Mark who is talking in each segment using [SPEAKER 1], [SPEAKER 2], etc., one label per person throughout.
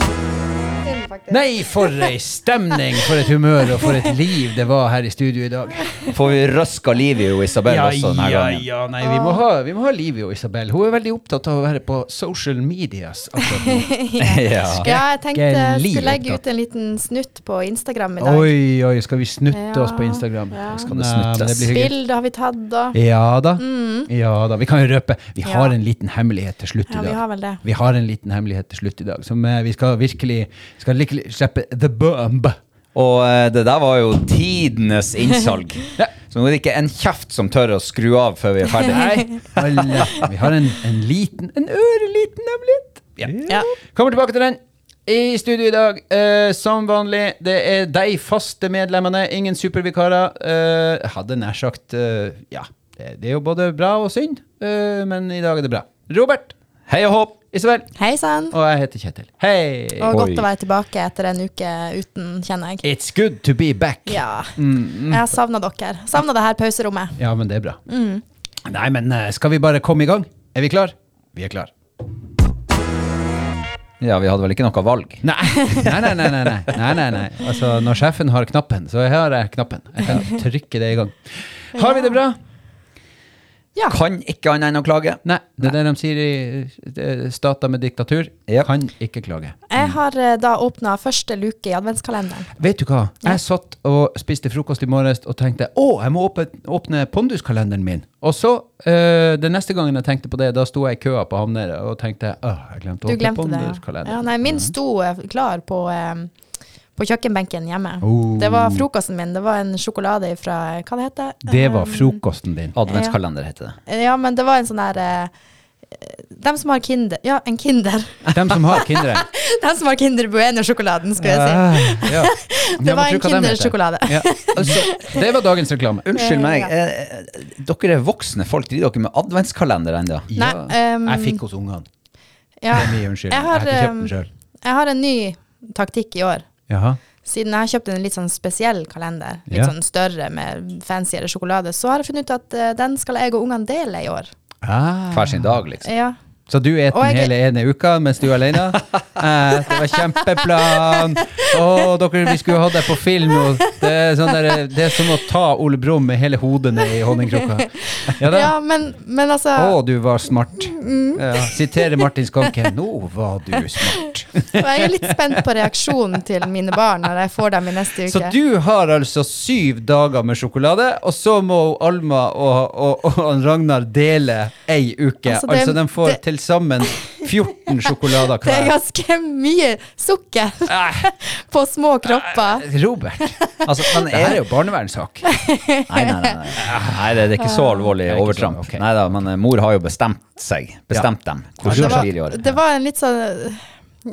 [SPEAKER 1] Film, faktisk.
[SPEAKER 2] Nei, for ei stemning, for et humør og for et liv det var her i studio i dag.
[SPEAKER 3] Får vi røska liv i jo Isabel
[SPEAKER 2] Ja,
[SPEAKER 3] også denne
[SPEAKER 2] ja,
[SPEAKER 3] gangen?
[SPEAKER 2] ja, nei, vi må ha, vi må ha Livio og Isabel. Hun er veldig opptatt av å være på social medias akkurat nå.
[SPEAKER 3] ja.
[SPEAKER 1] Ja, jeg tenkte jeg
[SPEAKER 2] livet,
[SPEAKER 1] skulle legge
[SPEAKER 2] da.
[SPEAKER 1] ut en liten snutt på Instagram i dag.
[SPEAKER 2] Oi, oi, skal vi snutte oss på
[SPEAKER 1] Ja,
[SPEAKER 2] Instagram?
[SPEAKER 1] ja.
[SPEAKER 3] Skal det
[SPEAKER 2] Nei, men
[SPEAKER 3] snuttes?
[SPEAKER 2] blir hyggelig.
[SPEAKER 1] Bilder har vi tatt, da.
[SPEAKER 2] Ja da.
[SPEAKER 1] Mm.
[SPEAKER 2] Ja da. Vi kan jo røpe. Vi
[SPEAKER 1] Ja.
[SPEAKER 2] har en liten hemmelighet til slutt i
[SPEAKER 1] Ja, vi
[SPEAKER 2] dag.
[SPEAKER 1] har vel det.
[SPEAKER 2] Vi har en liten hemmelighet til slutt i dag som eh, vi skal virkelig skal virkelig slippe the bomb.
[SPEAKER 3] Og eh, det der var jo tidenes innsalg. Så nå er det ikke en kjeft som tør å skru av før vi er ferdig.
[SPEAKER 2] Alle. Vi har en, en liten, en øreliten hemmelighet.
[SPEAKER 1] Ja.
[SPEAKER 2] Kommer tilbake til den. I studio i dag, eh, som vanlig, det er de faste medlemmene. Ingen supervikarer. Eh, jeg hadde nær sagt eh, Ja, det, det er jo både bra og synd, eh, men i dag er det bra. Robert.
[SPEAKER 3] Hei og håp!
[SPEAKER 2] Isabel.
[SPEAKER 1] Hei sann.
[SPEAKER 2] Og jeg heter Kjetil. Hei!
[SPEAKER 1] Og
[SPEAKER 3] Oi.
[SPEAKER 1] godt å være tilbake etter en uke uten, kjenner jeg.
[SPEAKER 2] It's good to be back.
[SPEAKER 1] Ja.
[SPEAKER 2] Mm,
[SPEAKER 1] Jeg har savna dere. Savna det her pauserommet.
[SPEAKER 2] Ja, men det er bra. Nei, men eh, skal vi bare komme i gang? Er vi klar? Vi er klar.
[SPEAKER 3] Ja, vi hadde vel ikke noe valg.
[SPEAKER 2] Nei. Nei, nei, nei, nei, nei, nei, nei, nei. Altså, når sjefen har knappen, så har jeg knappen. Jeg kan trykke det i gang. Har vi det bra?
[SPEAKER 1] Ja.
[SPEAKER 3] Kan ikke annet enn å klage.
[SPEAKER 2] Nei, det er det de sier i eh, stater med diktatur.
[SPEAKER 3] Ja.
[SPEAKER 2] Kan ikke klage.
[SPEAKER 1] Jeg har eh, da åpna første luke i adventskalenderen.
[SPEAKER 2] Vet du hva? Jeg satt og spiste frokost i morges og tenkte å, jeg må åpne, åpne ponduskalenderen min. Og så, eh, den neste gangen jeg tenkte på det, da sto jeg i køa på Havner og tenkte å, jeg glemte å
[SPEAKER 1] Du
[SPEAKER 2] åpne
[SPEAKER 1] glemte det. ja. Ja,
[SPEAKER 2] ponduskalenderen.
[SPEAKER 1] nei, min sto eh, klar på, eh, på kjøkkenbenken hjemme.
[SPEAKER 2] Oh.
[SPEAKER 1] Det var frokosten min. Det var en sjokolade fra eh, Hva det heter det?
[SPEAKER 2] Det var frokosten din.
[SPEAKER 3] Adventskalender heter det.
[SPEAKER 1] Ja, men det var en sånn her eh, Dem som har Kinder Ja, en Kinder.
[SPEAKER 2] De som har Kindere.
[SPEAKER 1] Dem som har Kinder Bueno-sjokoladen, skulle jeg si.
[SPEAKER 2] Ah, ja.
[SPEAKER 1] Det var en
[SPEAKER 2] Jeg må tro hva de heter.
[SPEAKER 1] Kinder-sjokolade.
[SPEAKER 2] Ja. Altså, det var dagens reklame.
[SPEAKER 3] Unnskyld meg,
[SPEAKER 1] Ja.
[SPEAKER 3] eh, dere er voksne folk. Driver dere med adventskalender ennå?
[SPEAKER 1] Nei, ehm,
[SPEAKER 2] jeg fikk hos ungene.
[SPEAKER 1] Ja.
[SPEAKER 2] Det er mye unnskyld. Jeg
[SPEAKER 1] Jeg har,
[SPEAKER 2] har ikke kjøpt
[SPEAKER 1] ehm,
[SPEAKER 2] den sjøl.
[SPEAKER 1] Jeg har en ny taktikk i år.
[SPEAKER 2] Jaha.
[SPEAKER 1] Siden jeg har kjøpt en litt sånn spesiell kalender, litt
[SPEAKER 2] Ja.
[SPEAKER 1] sånn større med fancyere sjokolade, så har jeg funnet ut at eh, den skal jeg og ungene dele i år.
[SPEAKER 2] Ah.
[SPEAKER 3] Hver sin dag, liksom.
[SPEAKER 1] Ja.
[SPEAKER 2] Så du et
[SPEAKER 1] Og
[SPEAKER 2] den
[SPEAKER 1] jeg-
[SPEAKER 2] hele ene uka mens du er alene? Eh, det var kjempeplan! Å, dere, vi skulle hatt deg på film! Og det, er sånn der, det er som å ta Ole Brumm med hele hodet ned i honningkrukka. Ja da.
[SPEAKER 1] ja, Mm. men, men altså
[SPEAKER 2] Å, du var smart. Ja. Siterer Martin Skanke. Nå var du smart.
[SPEAKER 1] Jeg er litt spent på reaksjonen til mine barn når jeg får dem i neste uke.
[SPEAKER 2] Så du har altså syv dager med sjokolade, og så må Alma og, og, og Ragnar dele ei uke.
[SPEAKER 1] Altså,
[SPEAKER 2] Altså,
[SPEAKER 1] det-
[SPEAKER 2] de får
[SPEAKER 1] det-
[SPEAKER 2] til sammen 14 sjokolader
[SPEAKER 1] Det er
[SPEAKER 2] hver.
[SPEAKER 1] ganske mye sukker på små kropper.
[SPEAKER 2] Robert,
[SPEAKER 3] Altså, men
[SPEAKER 2] det
[SPEAKER 3] er
[SPEAKER 2] her
[SPEAKER 3] det
[SPEAKER 2] er jo barnevernssak.
[SPEAKER 3] Nei, nei, nei. nei. nei det, det er ikke så alvorlig
[SPEAKER 2] Det er ikke
[SPEAKER 3] overtramp.
[SPEAKER 2] sånn, ok.
[SPEAKER 3] Nei da, men eh, mor har jo bestemt seg. Bestemt dem.
[SPEAKER 2] Ja,
[SPEAKER 3] Hvordan
[SPEAKER 2] det var-
[SPEAKER 3] blir det i år?
[SPEAKER 1] Det var en litt sånn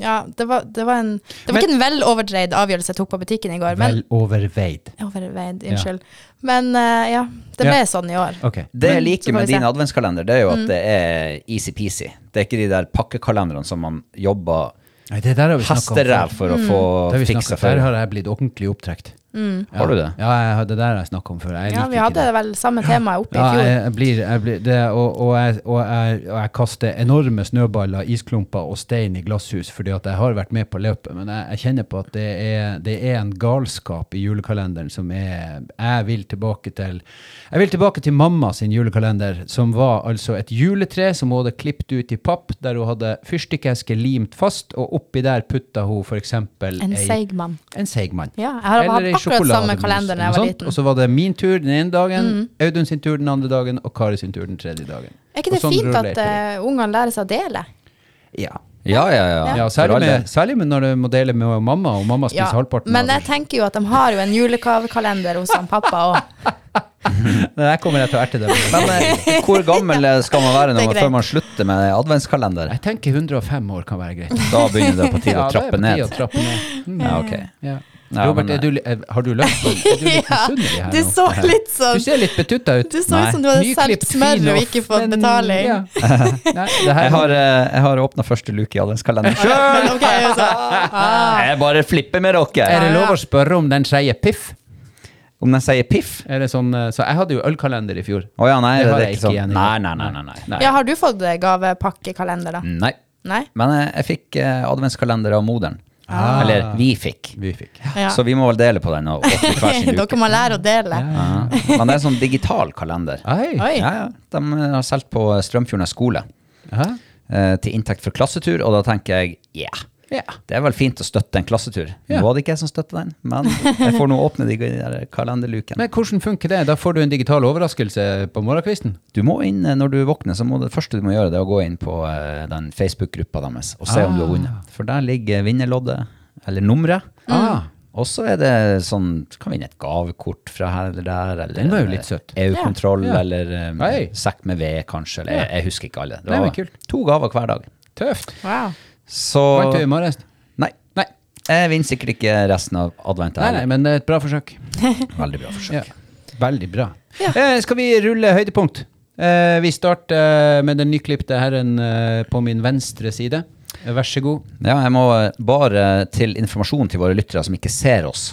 [SPEAKER 1] Ja, det var, det var en Det var
[SPEAKER 2] Men-
[SPEAKER 1] ikke en veloverdreid avgjørelse jeg tok på butikken i går, men
[SPEAKER 2] Vel overveid.
[SPEAKER 1] Overveid,
[SPEAKER 2] Ja.
[SPEAKER 1] unnskyld. Men eh, ja, det
[SPEAKER 2] Ja.
[SPEAKER 1] ble sånn i år.
[SPEAKER 2] Ok.
[SPEAKER 3] Det jeg
[SPEAKER 1] Men- så
[SPEAKER 3] liker
[SPEAKER 1] får
[SPEAKER 3] med
[SPEAKER 1] vi se.
[SPEAKER 3] din adventskalender, det er jo at
[SPEAKER 2] Mm.
[SPEAKER 3] det er easy-peasy. Det er ikke de der pakkekalenderne som man jobber
[SPEAKER 2] Nei, det der har vi snakket om
[SPEAKER 3] hesteræv
[SPEAKER 2] før.
[SPEAKER 3] for å få
[SPEAKER 2] Mm. Det har vi snakket-
[SPEAKER 3] fiksa før.
[SPEAKER 2] Der har jeg blitt ordentlig opptrekt. Ja.
[SPEAKER 3] Har du det?
[SPEAKER 2] Ja, jeg, har- det der har jeg snakka om før.
[SPEAKER 1] Mm. Ja,
[SPEAKER 2] Jeg liker
[SPEAKER 1] vi
[SPEAKER 2] ikke
[SPEAKER 1] hadde
[SPEAKER 2] det.
[SPEAKER 1] vel samme tema oppe i
[SPEAKER 2] Ja,
[SPEAKER 1] fjor.
[SPEAKER 2] jeg, jeg blir, jeg blir det, og, og, jeg, og, jeg, og jeg kaster enorme snøballer, isklumper og stein i glasshus, fordi at jeg har vært med på løpet. Men jeg, jeg kjenner på at det er, det er en galskap i julekalenderen som er Jeg vil tilbake til Jeg vil tilbake til mamma sin julekalender, som var altså et juletre som hun hadde klippet ut i papp, der hun hadde fyrstikkeske limt fast, og oppi der putta hun f.eks.
[SPEAKER 1] En seig mann.
[SPEAKER 2] en seigmann.
[SPEAKER 1] Ja, jeg har
[SPEAKER 2] Eller
[SPEAKER 1] hatt
[SPEAKER 2] i
[SPEAKER 1] akkurat samme
[SPEAKER 2] sjokolademus,
[SPEAKER 1] kalender da
[SPEAKER 2] eller
[SPEAKER 1] jeg var
[SPEAKER 2] sånt. Og
[SPEAKER 1] liten. Mm.
[SPEAKER 2] så var det min tur den ene dagen, Audun sin tur den andre dagen, og Kari sin tur den tredje dagen.
[SPEAKER 1] Er ikke det
[SPEAKER 2] Og sånn
[SPEAKER 1] fint
[SPEAKER 2] rullerte
[SPEAKER 1] at eh, ungene lærer seg å dele?
[SPEAKER 2] det. Ja.
[SPEAKER 3] Ja, ja, ja.
[SPEAKER 2] Ja,
[SPEAKER 3] For
[SPEAKER 2] særlig,
[SPEAKER 3] all del.
[SPEAKER 2] med, særlig med når du må dele med mamma, og mamma spiser
[SPEAKER 1] Ja,
[SPEAKER 2] halvparten
[SPEAKER 1] men
[SPEAKER 2] av
[SPEAKER 1] jeg tenker jo at de har jo en julegavekalender hos han pappa òg.
[SPEAKER 2] det. Der kommer jeg til å erte deg. med.
[SPEAKER 3] Men eh, hvor gammel eh, skal man være
[SPEAKER 1] Det
[SPEAKER 3] når
[SPEAKER 1] er
[SPEAKER 3] man,
[SPEAKER 1] greit.
[SPEAKER 3] før man slutter med adventskalender?
[SPEAKER 2] Jeg tenker 105 år kan være greit.
[SPEAKER 3] Da begynner det på tide
[SPEAKER 2] det
[SPEAKER 3] å
[SPEAKER 2] er på
[SPEAKER 3] trappe
[SPEAKER 2] tide
[SPEAKER 3] ned.
[SPEAKER 2] å trappe ned. Mm.
[SPEAKER 3] Ja, ok.
[SPEAKER 2] Ja.
[SPEAKER 3] Ja,
[SPEAKER 2] Robert,
[SPEAKER 3] men-
[SPEAKER 2] er du, li- eh, har du lyst på Er du litt misunnelig her
[SPEAKER 1] du
[SPEAKER 2] nå?
[SPEAKER 1] så litt sånn
[SPEAKER 2] Du ser litt betutta ut.
[SPEAKER 1] Du så ut som du hadde solgt
[SPEAKER 2] Nyklipt,
[SPEAKER 1] smør
[SPEAKER 2] fin
[SPEAKER 1] og ikke
[SPEAKER 2] off,
[SPEAKER 1] fått
[SPEAKER 2] men-
[SPEAKER 1] betaling.
[SPEAKER 2] ja. Nei, det her,
[SPEAKER 3] Jeg har, eh, jeg har åpna første luke i adventskalenderen
[SPEAKER 1] Men
[SPEAKER 3] sjøl!
[SPEAKER 1] ok, jeg er sånn, ah.
[SPEAKER 3] Jeg bare flipper med
[SPEAKER 2] er
[SPEAKER 3] dere.
[SPEAKER 2] det lov å spørre om den sier piff?
[SPEAKER 3] Om de sier piff
[SPEAKER 2] Er det sånn, eh, så jeg hadde jo ølkalender i fjor.
[SPEAKER 3] Å ja, nei,
[SPEAKER 2] Det
[SPEAKER 3] det,
[SPEAKER 2] har
[SPEAKER 3] det er
[SPEAKER 2] jeg
[SPEAKER 3] ikke
[SPEAKER 2] ikke
[SPEAKER 3] sånn.
[SPEAKER 2] igjen i
[SPEAKER 3] Nei,
[SPEAKER 2] dag.
[SPEAKER 3] nei, nei, nei, nei.
[SPEAKER 2] Nei.
[SPEAKER 1] Ja, har du fått eh, gavepakkekalender, da?
[SPEAKER 2] Mm.
[SPEAKER 3] nei.
[SPEAKER 1] Nei?
[SPEAKER 3] Men jeg, jeg fikk eh, adventskalender av moderen.
[SPEAKER 2] Ah.
[SPEAKER 3] Eller vi fikk.
[SPEAKER 2] Vi fikk.
[SPEAKER 1] Ja.
[SPEAKER 3] Så vi må vel dele på den. Og, og hver sin
[SPEAKER 1] Dere
[SPEAKER 3] luke.
[SPEAKER 1] må lære å dele.
[SPEAKER 3] Ja. Men det er en sånn digital kalender.
[SPEAKER 2] Oi.
[SPEAKER 1] Oi.
[SPEAKER 3] Ja, ja. De eh, har solgt på Strømfjordnes skole
[SPEAKER 2] Hæ?
[SPEAKER 3] eh, til inntekt for klassetur, og da tenker jeg ja.
[SPEAKER 2] Ja.
[SPEAKER 3] Det er vel fint å støtte en klassetur.
[SPEAKER 2] Ja.
[SPEAKER 3] Nå var det ikke jeg som støtta den, men jeg får nå åpne de der kalenderlukene.
[SPEAKER 2] Men hvordan funker det? Da får du en digital overraskelse på morgenkvisten?
[SPEAKER 3] Du må inn eh, når du våkner, så må det første du må gjøre, det er å gå inn på eh, den Facebook-gruppa deres og se om du har vunnet. For der ligger vinnerloddet, eller nummeret.
[SPEAKER 2] Ah.
[SPEAKER 3] Og så er det sånn, du kan vinne et gavekort fra her eller der. Eller,
[SPEAKER 2] Den var jo litt søtt.
[SPEAKER 3] EU-kontroll,
[SPEAKER 2] Ja. Ja.
[SPEAKER 3] eller um,
[SPEAKER 2] Hei.
[SPEAKER 3] sekk med ved, kanskje. Eller, jeg, jeg husker ikke alle. Det
[SPEAKER 2] Nei, men
[SPEAKER 3] var
[SPEAKER 2] kult.
[SPEAKER 3] to gaver hver dag.
[SPEAKER 2] Tøft.
[SPEAKER 1] Wow.
[SPEAKER 3] Så
[SPEAKER 2] Vant du i morges?
[SPEAKER 3] Nei.
[SPEAKER 2] Nei.
[SPEAKER 3] Jeg vinner sikkert ikke resten av advent.
[SPEAKER 2] Nei, nei,
[SPEAKER 3] heller.
[SPEAKER 2] men det er et bra forsøk.
[SPEAKER 3] Veldig bra forsøk.
[SPEAKER 2] Ja. Veldig bra.
[SPEAKER 1] Ja.
[SPEAKER 2] Eh, skal vi rulle høydepunkt? Eh, vi starter med den nyklipte herren eh, på min venstre side. Eh, Vær så god.
[SPEAKER 3] Ja, jeg må eh, bare til informasjon til våre lyttere som ikke ser oss,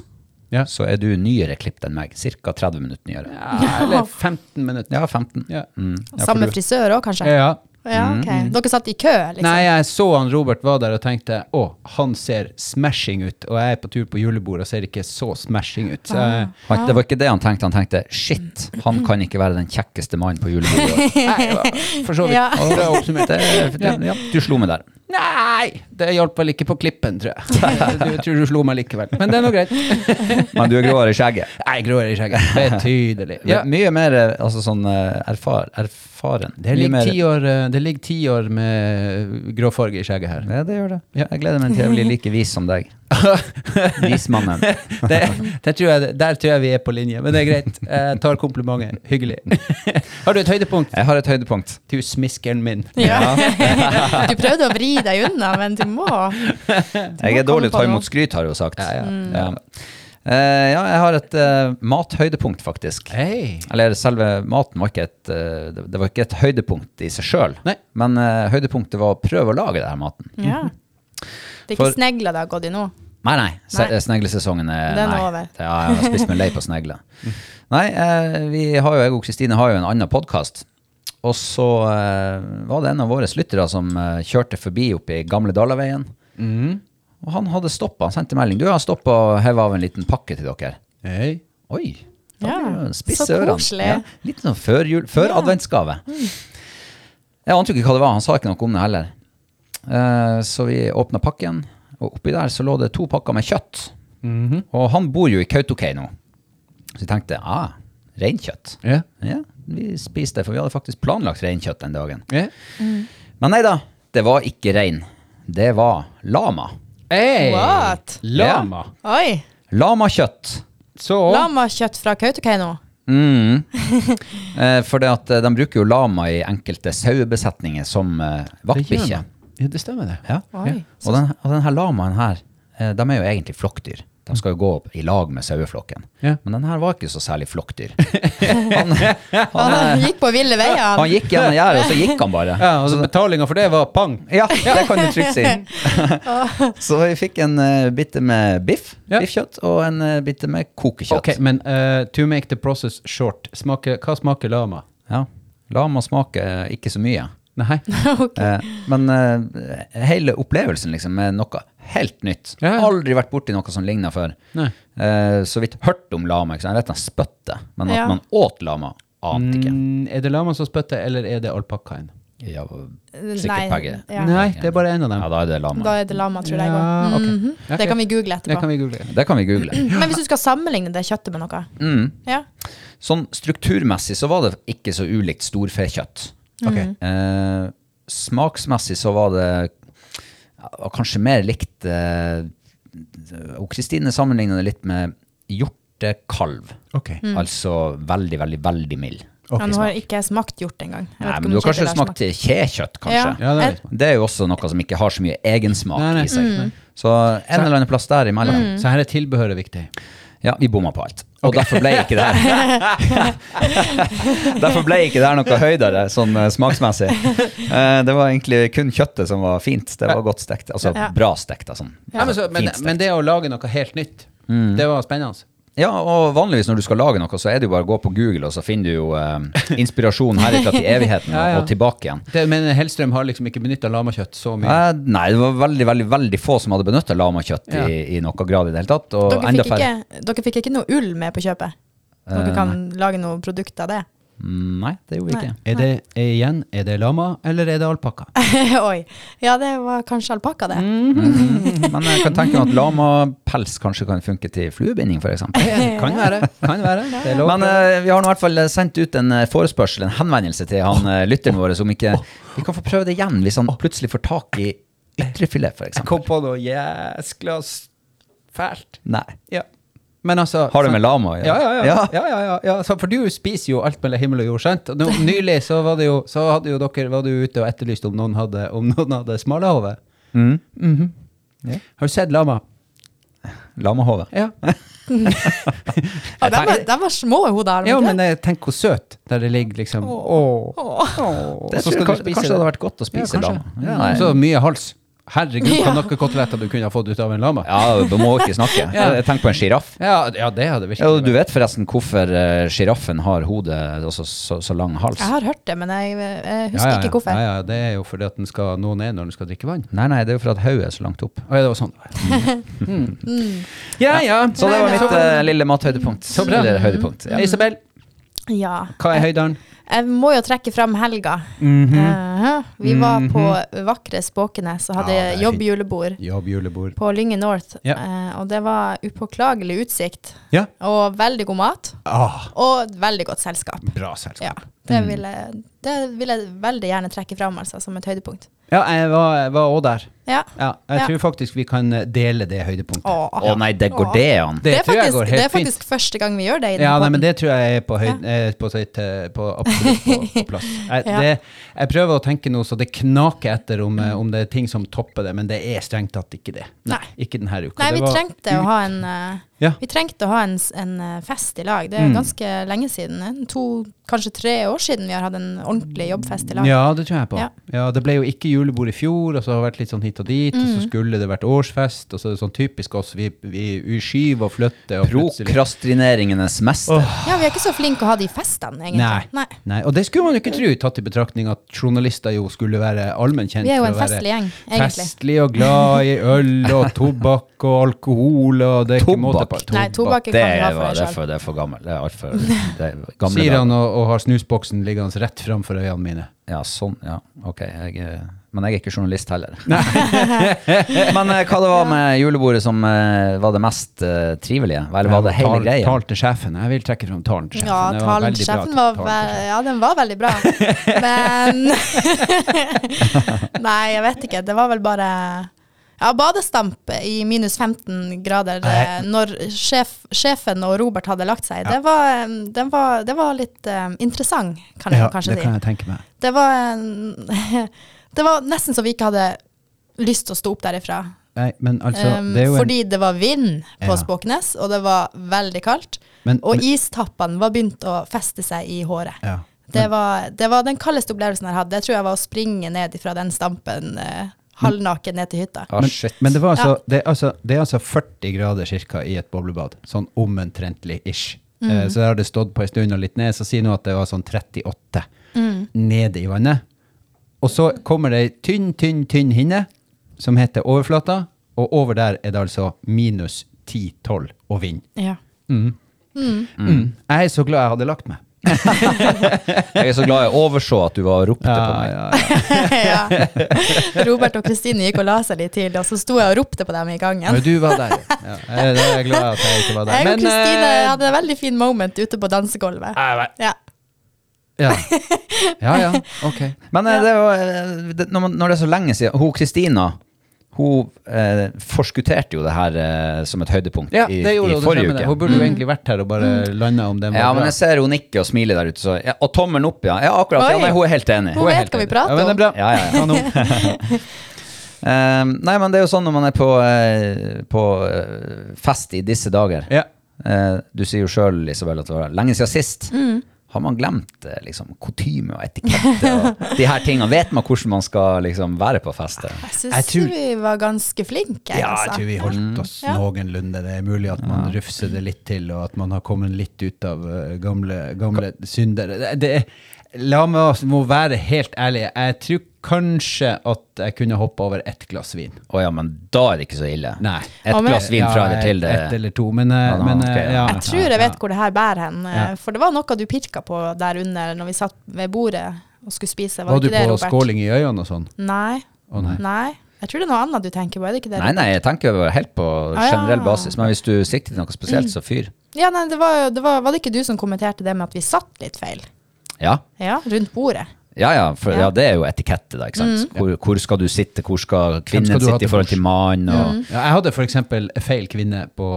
[SPEAKER 2] Ja.
[SPEAKER 3] så er du nyere klippet enn meg. Ca. 30 minutter nyere.
[SPEAKER 2] Eller 15 minutter.
[SPEAKER 3] Ja, 15.
[SPEAKER 2] Ja.
[SPEAKER 3] Mm. Ja, for
[SPEAKER 1] Samme
[SPEAKER 3] du- Mm,
[SPEAKER 1] frisør òg, kanskje?
[SPEAKER 2] Ja.
[SPEAKER 1] Ja, ok. Dere satt i kø, liksom?
[SPEAKER 2] Nei, jeg så han Robert var der og tenkte å, han ser smashing ut, og jeg er på tur på julebord og ser ikke så smashing ut. Så
[SPEAKER 1] Ah.
[SPEAKER 2] jeg,
[SPEAKER 3] Han, det var ikke det han tenkte. Han tenkte shit, han kan ikke være den kjekkeste mannen på julebordet.
[SPEAKER 2] nei, for så vidt.
[SPEAKER 1] Ja.
[SPEAKER 2] Bra oppsummert.
[SPEAKER 3] Det, det, ja, du slo meg der.
[SPEAKER 2] Nei! Det hjalp vel ikke på klippen, tror jeg. Du tror du slo meg likevel. Men det er nå greit.
[SPEAKER 3] Men du er gråere i skjegget.
[SPEAKER 2] Nei, gråere i skjegget. Betydelig.
[SPEAKER 3] Ja.
[SPEAKER 2] Ja.
[SPEAKER 3] Mye mer eh, altså, sånn eh, erfar, erfaren.
[SPEAKER 2] Det
[SPEAKER 3] Mye
[SPEAKER 2] ligger
[SPEAKER 3] mer-
[SPEAKER 2] ti år, eh, det ligger ti år med gråfarge i skjegget her.
[SPEAKER 3] Ja, det gjør det. Jeg gleder meg til jeg blir like vis som deg. Vismannen.
[SPEAKER 2] Det, det tror jeg, der tror jeg vi er på linje, men det er greit. Jeg tar komplimentet. Hyggelig. Har du et høydepunkt?
[SPEAKER 3] Jeg har et høydepunkt.
[SPEAKER 2] Du smiskeren min.
[SPEAKER 1] Ja. du prøvde å vri deg unna, men du må.
[SPEAKER 3] Jeg er
[SPEAKER 1] komme
[SPEAKER 3] dårlig til å
[SPEAKER 1] på
[SPEAKER 3] ta
[SPEAKER 1] noe.
[SPEAKER 3] imot skryt, har jeg jo sagt.
[SPEAKER 2] Ja, ja.
[SPEAKER 3] Ja. Eh, ja, jeg har et eh, mathøydepunkt, faktisk.
[SPEAKER 2] Hei.
[SPEAKER 3] Eller selve maten var ikke et, eh, det- det var ikke et høydepunkt i seg sjøl,
[SPEAKER 2] Nei.
[SPEAKER 3] men eh, høydepunktet var å prøve å lage denne maten.
[SPEAKER 1] Ja. Det er
[SPEAKER 3] For-
[SPEAKER 1] ikke snegler det har gått i nå?
[SPEAKER 3] Nei, nei. Se-
[SPEAKER 1] Nei.
[SPEAKER 3] Sneglesesongen er
[SPEAKER 1] Den er
[SPEAKER 3] nei.
[SPEAKER 1] over.
[SPEAKER 3] Ja, jeg har spist meg lei på snegler. Nei, eh, vi har jo, jeg og Kristine har jo en annen podkast. Og så eh, var det en av våre lyttere som eh, kjørte forbi oppe i Gamle Dalaveien.
[SPEAKER 2] Mm.
[SPEAKER 3] Og han hadde stoppa. Han sendte melding. Du, jeg har stoppa og heva av en liten pakke til dere.
[SPEAKER 2] Hei.
[SPEAKER 3] Oi. Da
[SPEAKER 1] Ja,
[SPEAKER 3] blir det jo
[SPEAKER 1] så
[SPEAKER 3] spisse ørene.
[SPEAKER 1] koselig.
[SPEAKER 3] Ja, litt sånn før jul, før
[SPEAKER 1] Ja.
[SPEAKER 3] adventsgave. Jeg ante jo ikke hva det var, han sa ikke noe om det heller. Eh, så vi åpna pakken, og oppi der så lå det to pakker med kjøtt.
[SPEAKER 2] Mm-hmm.
[SPEAKER 3] Og han bor jo i Kautokeino, så vi tenkte ah, reinkjøtt.
[SPEAKER 2] Ja.
[SPEAKER 3] Ja, vi spiste det, for vi hadde faktisk planlagt reinkjøtt den dagen.
[SPEAKER 2] Ja.
[SPEAKER 3] Men nei da, det var ikke rein. Det var lama.
[SPEAKER 2] Hei.
[SPEAKER 1] What?
[SPEAKER 2] Lama.
[SPEAKER 1] Oi!
[SPEAKER 3] Lamakjøtt.
[SPEAKER 2] Så
[SPEAKER 1] Lamakjøtt fra Kautokeino?
[SPEAKER 3] Mm. Eh, for det at eh, de bruker jo lama i enkelte sauebesetninger som eh,
[SPEAKER 2] Det gjør
[SPEAKER 3] vaktbikkje.
[SPEAKER 2] man. Ja, det stemmer det.
[SPEAKER 3] Ja.
[SPEAKER 1] Oi.
[SPEAKER 3] Og, den, og den her lamaen her, eh, de er jo egentlig flokkdyr. De skal jo gå opp i lag med saueflokken.
[SPEAKER 2] Ja.
[SPEAKER 3] Men den her var ikke så særlig flokkdyr. Han, han,
[SPEAKER 1] Han gikk på ville veier.
[SPEAKER 3] han gikk gjennom gjerdet, og så gikk han bare.
[SPEAKER 2] Ja, altså Betalinga for det var pang.
[SPEAKER 3] Ja, det kan du trygt si. Så vi fikk en eh, bitte med biff,
[SPEAKER 2] Ja.
[SPEAKER 3] biffkjøtt, og en eh, bitte med kokekjøtt.
[SPEAKER 2] Ok, Men eh, to make the process short, Smaker- hva smaker lama?
[SPEAKER 3] Ja. Lama smaker eh, ikke så mye.
[SPEAKER 2] Nei.
[SPEAKER 1] Ok.
[SPEAKER 3] Eh, men eh, hele opplevelsen liksom er noe helt nytt.
[SPEAKER 2] Ja, ja.
[SPEAKER 3] Aldri vært borti noe som ligner før.
[SPEAKER 2] Nei.
[SPEAKER 3] Eh, så vidt hørt om lama. Ikke sant? Jeg vet han spytte, men at
[SPEAKER 1] Ja.
[SPEAKER 3] man åt lama, ante ikke.
[SPEAKER 2] Mm, er det lama som spytter, eller er det alpakkaen?
[SPEAKER 3] Ja, sikkert
[SPEAKER 1] Nei,
[SPEAKER 3] begge.
[SPEAKER 1] ja.
[SPEAKER 2] Nei, det er bare en av dem.
[SPEAKER 3] Ja, da er det lama.
[SPEAKER 1] Da er det lama, tror jeg.
[SPEAKER 2] Ja,
[SPEAKER 1] også.
[SPEAKER 2] ok.
[SPEAKER 1] Mhm.
[SPEAKER 2] Ok.
[SPEAKER 1] Det kan vi google
[SPEAKER 2] Det kan
[SPEAKER 1] etterpå.
[SPEAKER 2] vi google.
[SPEAKER 3] Det kan vi google.
[SPEAKER 1] Men hvis du skal sammenligne det kjøttet med noe
[SPEAKER 3] Mm.
[SPEAKER 1] ja.
[SPEAKER 3] Sånn strukturmessig så var det ikke så ulikt storfekjøtt.
[SPEAKER 2] Ok.
[SPEAKER 1] Mm.
[SPEAKER 3] Eh, smaksmessig så var det ja, var kanskje mer likt eh, Og Kristine sammenligna det litt med hjortekalv.
[SPEAKER 2] Ok. Mm.
[SPEAKER 3] Altså veldig, veldig, veldig mild.
[SPEAKER 2] Og
[SPEAKER 1] Ja, nå har ikke jeg smakt hjort engang. Jeg vet
[SPEAKER 3] Nei,
[SPEAKER 1] ikke om
[SPEAKER 3] men du har kanskje
[SPEAKER 1] Kjetil
[SPEAKER 3] smakt kjekjøtt, kanskje?
[SPEAKER 2] Ja, det vet man.
[SPEAKER 3] Det er jo også noe som ikke har så mye egensmak
[SPEAKER 2] Nei, nei.
[SPEAKER 3] i seg.
[SPEAKER 1] Mm.
[SPEAKER 3] Så en eller annen plass der imellom.
[SPEAKER 2] Så her er tilbehøret viktig.
[SPEAKER 3] Ja, vi bomma på alt. Og derfor ble ikke det her Derfor ble ikke det her noe høydere sånn eh, smaksmessig. Eh, Det var egentlig kun kjøttet som var fint. Det var godt stekt. Altså
[SPEAKER 1] Ja.
[SPEAKER 3] bra stekt. Altså.
[SPEAKER 2] Ja, men, så, men,
[SPEAKER 3] Fint stekt.
[SPEAKER 2] men det å lage noe helt nytt, det var spennende.
[SPEAKER 3] Ja, og vanligvis når du skal lage noe, så er det jo bare å gå på Google, og så finner du jo eh, inspirasjon herifra til evigheten
[SPEAKER 2] Ja, ja.
[SPEAKER 3] og tilbake igjen.
[SPEAKER 2] Det, men Hellstrøm har liksom ikke benytta lamakjøtt så
[SPEAKER 1] Mm.
[SPEAKER 2] mye.
[SPEAKER 3] Eh, Nei, det var veldig, veldig veldig få som hadde benytta lamakjøtt
[SPEAKER 2] Ja.
[SPEAKER 3] i, i noe grad i det hele tatt. Og
[SPEAKER 1] Dere
[SPEAKER 3] enda
[SPEAKER 1] fikk,
[SPEAKER 3] færre.
[SPEAKER 1] ikke, dere fikk ikke noe ull med på kjøpet? Dere
[SPEAKER 3] Eh,
[SPEAKER 1] kan lage noe produkt av det?
[SPEAKER 3] Mm, Nei, det gjorde vi
[SPEAKER 1] Nei.
[SPEAKER 3] ikke.
[SPEAKER 2] Er det er igjen, er det lama, eller er det alpakka?
[SPEAKER 1] Oi. Ja, det var kanskje alpakka, det.
[SPEAKER 3] Mm, Men jeg kan tenke meg at lamapels kanskje kan funke til fluebinding, f.eks.
[SPEAKER 2] Kan være. kan være. Det er lov.
[SPEAKER 3] Men eh, vi har nå i hvert fall sendt ut en eh, forespørsel, en henvendelse til han eh, lytteren vår, som ikke Vi kan få prøve det igjen hvis han plutselig får tak i ytrefilet, f.eks.
[SPEAKER 2] Jeg kom på noe jæskla s- fælt.
[SPEAKER 3] Nei.
[SPEAKER 2] Ja. Men altså
[SPEAKER 3] Har det med lama å
[SPEAKER 2] ja, ja, ja. ja. ja, ja, ja. Så, for du spiser jo alt mellom himmel og jord, sant? Og nå, nylig så var det jo, så hadde jo dere, var du ute og etterlyste om noen hadde, om noen hadde smalahove.
[SPEAKER 3] Mm.
[SPEAKER 2] Har du sett lama?
[SPEAKER 3] Lamahove.
[SPEAKER 2] Ja.
[SPEAKER 1] Ja, de, var, de var små hoder,
[SPEAKER 2] ja,
[SPEAKER 1] var de
[SPEAKER 2] men eh, tenk hvor søt der det ligger, liksom. Åh.
[SPEAKER 1] ikke?
[SPEAKER 3] Det
[SPEAKER 2] Så
[SPEAKER 3] tror jeg
[SPEAKER 2] skal du
[SPEAKER 3] kanskje,
[SPEAKER 2] spise
[SPEAKER 3] kanskje det hadde vært godt å spise
[SPEAKER 2] kanskje.
[SPEAKER 3] lama.
[SPEAKER 2] Ja,
[SPEAKER 3] Nei.
[SPEAKER 2] Så mye hals. Herregud, hva
[SPEAKER 1] Ja.
[SPEAKER 2] noen koteletter du kunne ha fått ut av en lama.
[SPEAKER 3] ja, du må ikke snakke.
[SPEAKER 2] Ja.
[SPEAKER 3] Jeg Tenk på en sjiraff.
[SPEAKER 2] Ja, ja det hadde
[SPEAKER 3] Ja,
[SPEAKER 2] virkelig
[SPEAKER 3] og du vet forresten hvorfor eh, sjiraffen har hodet altså, så, så lang hals?
[SPEAKER 1] Jeg har hørt det, men jeg, jeg
[SPEAKER 2] Ja,
[SPEAKER 1] husker
[SPEAKER 2] ja, ja.
[SPEAKER 1] ikke hvorfor.
[SPEAKER 2] Ja, ja, det er jo fordi at den skal nå ned når den skal drikke vann.
[SPEAKER 3] Nei, nei, det er jo for at hodet er så langt opp.
[SPEAKER 2] Å ja, det var Mm. sånn.
[SPEAKER 3] Ja, ja. Så det var
[SPEAKER 1] Mm. Nei,
[SPEAKER 3] mitt
[SPEAKER 1] nei.
[SPEAKER 3] eh, lille mathøydepunkt.
[SPEAKER 2] Så bra.
[SPEAKER 3] Eller høydepunkt. Ja.
[SPEAKER 2] Isabel,
[SPEAKER 1] Ja.
[SPEAKER 2] hva er høydalen?
[SPEAKER 1] Jeg må jo trekke fram helga.
[SPEAKER 2] Mhm.
[SPEAKER 1] Eh, vi var på vakre Spåkenes og hadde
[SPEAKER 2] Ja, det er fint.
[SPEAKER 1] jobbjulebord
[SPEAKER 2] Jobb, julebord.
[SPEAKER 1] på Lynge North.
[SPEAKER 2] Ja.
[SPEAKER 1] eh, og det var upåklagelig utsikt
[SPEAKER 2] Ja.
[SPEAKER 1] og veldig god mat
[SPEAKER 2] Ah,
[SPEAKER 1] og veldig godt selskap.
[SPEAKER 2] bra selskap.
[SPEAKER 1] Ja, det vil, jeg, det vil jeg veldig gjerne trekke fram altså, som et høydepunkt.
[SPEAKER 2] Ja, jeg var, jeg var også der.
[SPEAKER 1] Ja.
[SPEAKER 2] Ja, jeg
[SPEAKER 1] Ja.
[SPEAKER 2] tror faktisk vi kan dele det høydepunktet.
[SPEAKER 1] Åh.
[SPEAKER 3] Å nei, det går det an.
[SPEAKER 1] Det,
[SPEAKER 2] Det,
[SPEAKER 1] er
[SPEAKER 2] tror jeg
[SPEAKER 1] faktisk,
[SPEAKER 2] går
[SPEAKER 1] det er
[SPEAKER 2] helt fint.
[SPEAKER 1] faktisk første gang vi gjør det i den
[SPEAKER 2] Ja, nei,
[SPEAKER 1] podden.
[SPEAKER 2] men det tror jeg er på, høy, eh, på, sitt, eh, på, absolutt på, på plass. Jeg,
[SPEAKER 1] Ja. Mm.
[SPEAKER 2] det, jeg prøver å tenke nå så det knaker etter om, eh, om det er ting som topper det, men det er strengt tatt ikke det.
[SPEAKER 1] Nei.
[SPEAKER 2] Ikke denne uka.
[SPEAKER 1] Nei,
[SPEAKER 2] Det
[SPEAKER 1] vi
[SPEAKER 2] var- Mm.
[SPEAKER 1] trengte å ha en, eh,
[SPEAKER 2] Ja. Mm.
[SPEAKER 1] vi trengte å ha en, s- en eh, fest i lag. Det er jo ganske lenge siden. en To, kanskje tre år siden vi har hatt en ordentlig jobbfest i lag.
[SPEAKER 2] Ja, det tror jeg på. Ja.
[SPEAKER 1] Ja.
[SPEAKER 2] Det ble jo ikke julebord i fjor, og så har det vært litt sånn hit og dit, og
[SPEAKER 1] Mm.
[SPEAKER 2] så skulle det vært årsfest, og så er det sånn typisk oss, vi, vi, vi skyver og flytter og plutselig
[SPEAKER 3] Prokrastineringenes mester.
[SPEAKER 1] Ja, vi er ikke så flinke å ha de festene,
[SPEAKER 2] Nei.
[SPEAKER 1] egentlig.
[SPEAKER 2] Nei. Og det skulle man jo ikke tro, tatt i betraktning at journalister jo skulle være allmennkjent.
[SPEAKER 1] Vi er jo
[SPEAKER 2] for
[SPEAKER 1] en
[SPEAKER 2] å være
[SPEAKER 1] festlig gjeng, egentlig.
[SPEAKER 2] Festlig og glad i øl og tobakk og alkohol og det er ikke måte på.
[SPEAKER 3] Tobakk?
[SPEAKER 1] Nei, tobakk
[SPEAKER 3] Det
[SPEAKER 1] kan vi ha
[SPEAKER 3] er,
[SPEAKER 1] for
[SPEAKER 3] det,
[SPEAKER 1] oss
[SPEAKER 3] er
[SPEAKER 1] selv.
[SPEAKER 3] for, det er for gammel. Det er altfor det er gamle
[SPEAKER 2] Sier han
[SPEAKER 3] dager.
[SPEAKER 2] og, og har snusboksen liggende rett framfor øynene mine.
[SPEAKER 3] Ja, sånn. Ja, ok. Jeg, eh, men jeg er ikke journalist heller. men eh, hva det var med julebordet som eh, var det mest eh, trivelige? Eller var det hele
[SPEAKER 2] Tal-
[SPEAKER 3] greia?
[SPEAKER 2] Talen til sjefen. Jeg vil trekke fram talen til sjefen.
[SPEAKER 1] Ja,
[SPEAKER 2] Det var
[SPEAKER 1] talen
[SPEAKER 2] veldig
[SPEAKER 1] til
[SPEAKER 2] bra
[SPEAKER 1] sjefen var,
[SPEAKER 2] talen til
[SPEAKER 1] ve-
[SPEAKER 2] sjefen.
[SPEAKER 1] ja, den var veldig bra. Men Nei, jeg vet ikke. Det var vel bare ja, badestamp i minus 15 grader eh, når sjef, sjefen og Robert hadde lagt seg. Det, var, eh, den var, det var litt eh, interessant, kan jeg
[SPEAKER 2] Ja,
[SPEAKER 1] kanskje
[SPEAKER 2] det
[SPEAKER 1] si.
[SPEAKER 2] kan jeg tenke meg.
[SPEAKER 1] Det var, en- det var nesten så vi ikke hadde lyst til å stå opp derifra.
[SPEAKER 2] Nei, men altså,
[SPEAKER 1] Um,
[SPEAKER 2] det er jo en,
[SPEAKER 1] fordi det var vind på
[SPEAKER 2] Ja.
[SPEAKER 1] Spåknes, og det var veldig kaldt.
[SPEAKER 2] Men-
[SPEAKER 1] og
[SPEAKER 2] men-
[SPEAKER 1] istappene var begynt å feste seg i håret.
[SPEAKER 2] Ja.
[SPEAKER 1] Det, var, det var den kaldeste opplevelsen jeg hadde. Jeg tror jeg var å springe ned fra den stampen eh, halvnaken ned til hytta.
[SPEAKER 3] Ah,
[SPEAKER 2] men,
[SPEAKER 3] shit.
[SPEAKER 2] men det, var altså, det, er altså, det er altså 40 grader cirka i et boblebad, sånn omtrentlig ish.
[SPEAKER 1] Mhm.
[SPEAKER 2] Eh, så der har det stått på en stund og litt ned, så si nå at det var sånn 38
[SPEAKER 1] Mm.
[SPEAKER 2] nede i vannet. Og så kommer det ei tynn, tynn, tynn hinne som heter overflata, og over der er det altså minus 10-12 og vind.
[SPEAKER 1] Ja.
[SPEAKER 2] Mm. Jeg er så glad jeg hadde lagt meg.
[SPEAKER 3] Jeg er så glad jeg overså at du var og ropte på meg.
[SPEAKER 1] ja. Robert og Kristine gikk og la seg litt tidlig, og så sto jeg og ropte på dem i gangen.
[SPEAKER 2] Men du var der. Ja, jeg, da er jeg glad at jeg ikke var der.
[SPEAKER 1] Jeg og
[SPEAKER 2] Men,
[SPEAKER 1] Kristine
[SPEAKER 2] eh,
[SPEAKER 1] hadde en veldig fin moment ute på dansegulvet. Ja.
[SPEAKER 2] ja. ja, ja, ok.
[SPEAKER 3] Men eh, det var, eh, det, når, man, når det er så lenge siden Hun Kristina Hun eh, forskutterte jo det her eh, som et høydepunkt
[SPEAKER 2] Ja,
[SPEAKER 3] i,
[SPEAKER 2] det gjorde
[SPEAKER 3] i
[SPEAKER 2] hun. det
[SPEAKER 3] forrige
[SPEAKER 2] stemmer det.
[SPEAKER 3] uke.
[SPEAKER 2] Hun burde jo egentlig vært her og bare landa om den var
[SPEAKER 3] Ja, men
[SPEAKER 2] bra.
[SPEAKER 3] jeg ser hun nikker og smiler der ute. Så, ja, og tommelen opp, ja. ja akkurat, ja,
[SPEAKER 1] Oi.
[SPEAKER 3] nei, hun er helt enig.
[SPEAKER 1] Hun
[SPEAKER 3] er
[SPEAKER 1] vet
[SPEAKER 3] helt
[SPEAKER 1] hva vi
[SPEAKER 3] enig.
[SPEAKER 2] ja,
[SPEAKER 1] prater
[SPEAKER 2] men det er
[SPEAKER 1] om.
[SPEAKER 2] bra.
[SPEAKER 3] Ja, ja, ja.
[SPEAKER 2] Kanon.
[SPEAKER 3] Eh, nei, men det er jo sånn når man er på, eh, på eh, fest i disse dager.
[SPEAKER 2] Ja.
[SPEAKER 3] Eh, du sier jo sjøl, Isabel, at det var lenge siden sist.
[SPEAKER 1] Mm.
[SPEAKER 3] Har man glemt eh, liksom, kutyme og etikette og de her tingene? Vet man hvordan man skal liksom, være på fest?
[SPEAKER 1] Jeg
[SPEAKER 2] Jeg
[SPEAKER 1] syns
[SPEAKER 2] tror-
[SPEAKER 1] vi var ganske flinke.
[SPEAKER 2] Ja, jeg
[SPEAKER 1] altså.
[SPEAKER 2] tror vi holdt oss noenlunde. Det er mulig at man rufser det litt til, og at man har kommet litt ut av eh, gamle, gamle syndere. Det, det, er- la meg oss- må være helt ærlig. Jeg tror kanskje at jeg kunne hoppe over ett glass vin.
[SPEAKER 3] Å ja, men da er det ikke så ille.
[SPEAKER 2] Nei.
[SPEAKER 3] Et
[SPEAKER 1] Å, men-
[SPEAKER 3] glass vin fra eller til det.
[SPEAKER 2] Ett eller to, men, eh,
[SPEAKER 3] Ja, da,
[SPEAKER 2] men
[SPEAKER 3] ok,
[SPEAKER 2] eh,
[SPEAKER 3] ja.
[SPEAKER 2] ja.
[SPEAKER 1] Jeg tror jeg vet hvor det her bærer hen. eh,
[SPEAKER 2] Ja.
[SPEAKER 1] For det var noe du pirka på der under når vi satt ved bordet og skulle spise. Var,
[SPEAKER 2] Var du
[SPEAKER 1] det ikke det,
[SPEAKER 2] på
[SPEAKER 1] Robert?
[SPEAKER 2] skåling i øynene og sånn?
[SPEAKER 1] Nei.
[SPEAKER 2] Å nei.
[SPEAKER 1] Jeg tror det er noe annet du tenker på. Er det ikke det?
[SPEAKER 3] Nei, nei, jeg tenker jo helt på
[SPEAKER 1] Ah, ja. Mm.
[SPEAKER 3] generell basis. Men hvis du sikter til noe spesielt, så fyr.
[SPEAKER 1] Ja, nei, det var, jo- det var, var det ikke du som kommenterte det med at vi satt litt feil?
[SPEAKER 3] Ja.
[SPEAKER 1] Ja, rundt bordet.
[SPEAKER 3] Ja, ja, for, ja.
[SPEAKER 1] Ja. Mm.
[SPEAKER 3] det er jo etikette, da. ikke sant? Hvor, hvor skal du sitte, hvor skal kvinnen
[SPEAKER 2] skal du ha
[SPEAKER 3] sitte i
[SPEAKER 2] til
[SPEAKER 3] forhold til
[SPEAKER 2] bords?
[SPEAKER 3] mannen? og-
[SPEAKER 1] Mm.
[SPEAKER 2] Ja, jeg hadde f.eks. feil kvinne på,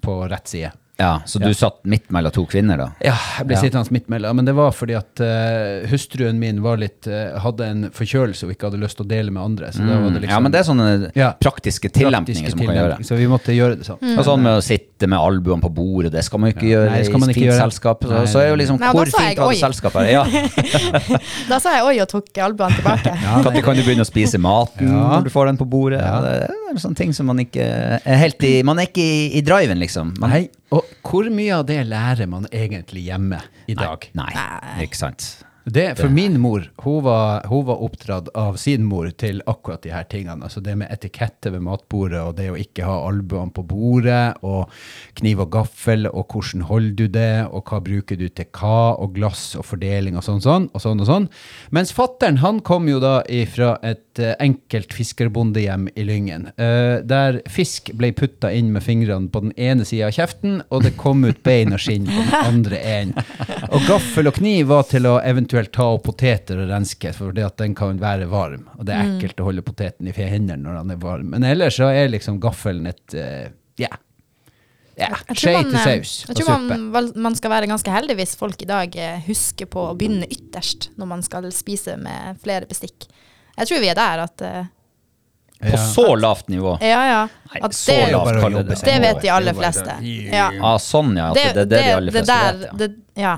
[SPEAKER 2] på rett side.
[SPEAKER 3] Ja, så du satt midt mellom to kvinner, da?
[SPEAKER 2] Ja, jeg ble
[SPEAKER 3] Ja.
[SPEAKER 2] sittende midt mellom. Men det var fordi at eh, hustruen min var litt, eh, hadde en forkjølelse og ikke hadde lyst til å dele med andre. Så da var det liksom
[SPEAKER 3] Mm. ja, men det er sånne
[SPEAKER 2] Ja.
[SPEAKER 3] praktiske
[SPEAKER 2] praktiske
[SPEAKER 3] tilempninger som man kan gjøre.
[SPEAKER 2] tilnærming, Så vi måtte gjøre det sånn.
[SPEAKER 3] Og sånn med å sitte med albuene på bordet, det skal man jo ikke
[SPEAKER 2] Ja.
[SPEAKER 3] gjøre
[SPEAKER 2] Nei, det skal man
[SPEAKER 3] i
[SPEAKER 2] ikke
[SPEAKER 3] fint
[SPEAKER 2] gjøre.
[SPEAKER 3] selskap. Så,
[SPEAKER 2] Nei,
[SPEAKER 3] så er jo liksom,
[SPEAKER 1] Nei, da
[SPEAKER 3] hvor
[SPEAKER 1] sa jeg
[SPEAKER 3] fint av
[SPEAKER 1] oi.
[SPEAKER 3] selskap er det? Ja.
[SPEAKER 1] Da sa jeg oi og tok albuene tilbake.
[SPEAKER 3] Når kan du begynne å spise maten
[SPEAKER 2] Ja.
[SPEAKER 3] når du får den på bordet?
[SPEAKER 2] Ja.
[SPEAKER 3] Det er sånne ting som man ikke er helt i Man er ikke i, i driven, liksom. Man,
[SPEAKER 2] Nei, og hvor mye av det lærer man egentlig hjemme i dag?
[SPEAKER 3] Nei, ikke sant.
[SPEAKER 2] Det, for min mor, hun var, hun var oppdratt av sin mor til akkurat de her tingene. Altså det med etikette ved matbordet, og det å ikke ha albuene på bordet, og kniv og gaffel, og hvordan holder du det, og hva bruker du til hva, og glass og fordeling og sånn, sånn, og sånn og sånn. Mens fattern, han kom jo da ifra et eh, enkelt fiskerbondehjem i Lyngen, eh, der fisk ble putta inn med fingrene på den ene sida av kjeften, og det kom ut bein og skinn på den andre enden. Og gaffel og kniv var til å eventuelt ta opp poteter og renske, for det at den kan være varm. Og det er
[SPEAKER 1] Mm.
[SPEAKER 2] ekkelt å holde poteten i hendene når den er varm. Men ellers så er liksom gaffelen et eh, Ja. ja,
[SPEAKER 1] Jeg tror
[SPEAKER 2] Skje
[SPEAKER 1] man,
[SPEAKER 2] til
[SPEAKER 1] eh,
[SPEAKER 2] saus
[SPEAKER 1] Jeg
[SPEAKER 2] og
[SPEAKER 1] tror
[SPEAKER 2] suppe.
[SPEAKER 1] man, vel- man skal være ganske heldig hvis folk i dag eh, husker på å begynne ytterst når man skal spise med flere bestikk. Jeg tror vi er der at eh,
[SPEAKER 3] På så lavt nivå.
[SPEAKER 1] Ja, ja.
[SPEAKER 3] Nei,
[SPEAKER 1] At
[SPEAKER 3] så
[SPEAKER 1] det,
[SPEAKER 2] Det er
[SPEAKER 3] lavt
[SPEAKER 2] bare å
[SPEAKER 3] kaller
[SPEAKER 2] jobbe
[SPEAKER 3] det
[SPEAKER 2] seg
[SPEAKER 1] det
[SPEAKER 2] oppover.
[SPEAKER 1] vet de aller fleste. Ja.
[SPEAKER 3] Ah, sånn, ja. At det, det, er det de aller
[SPEAKER 1] det
[SPEAKER 3] fleste
[SPEAKER 1] der-
[SPEAKER 3] vet. Ja.
[SPEAKER 1] det- ja.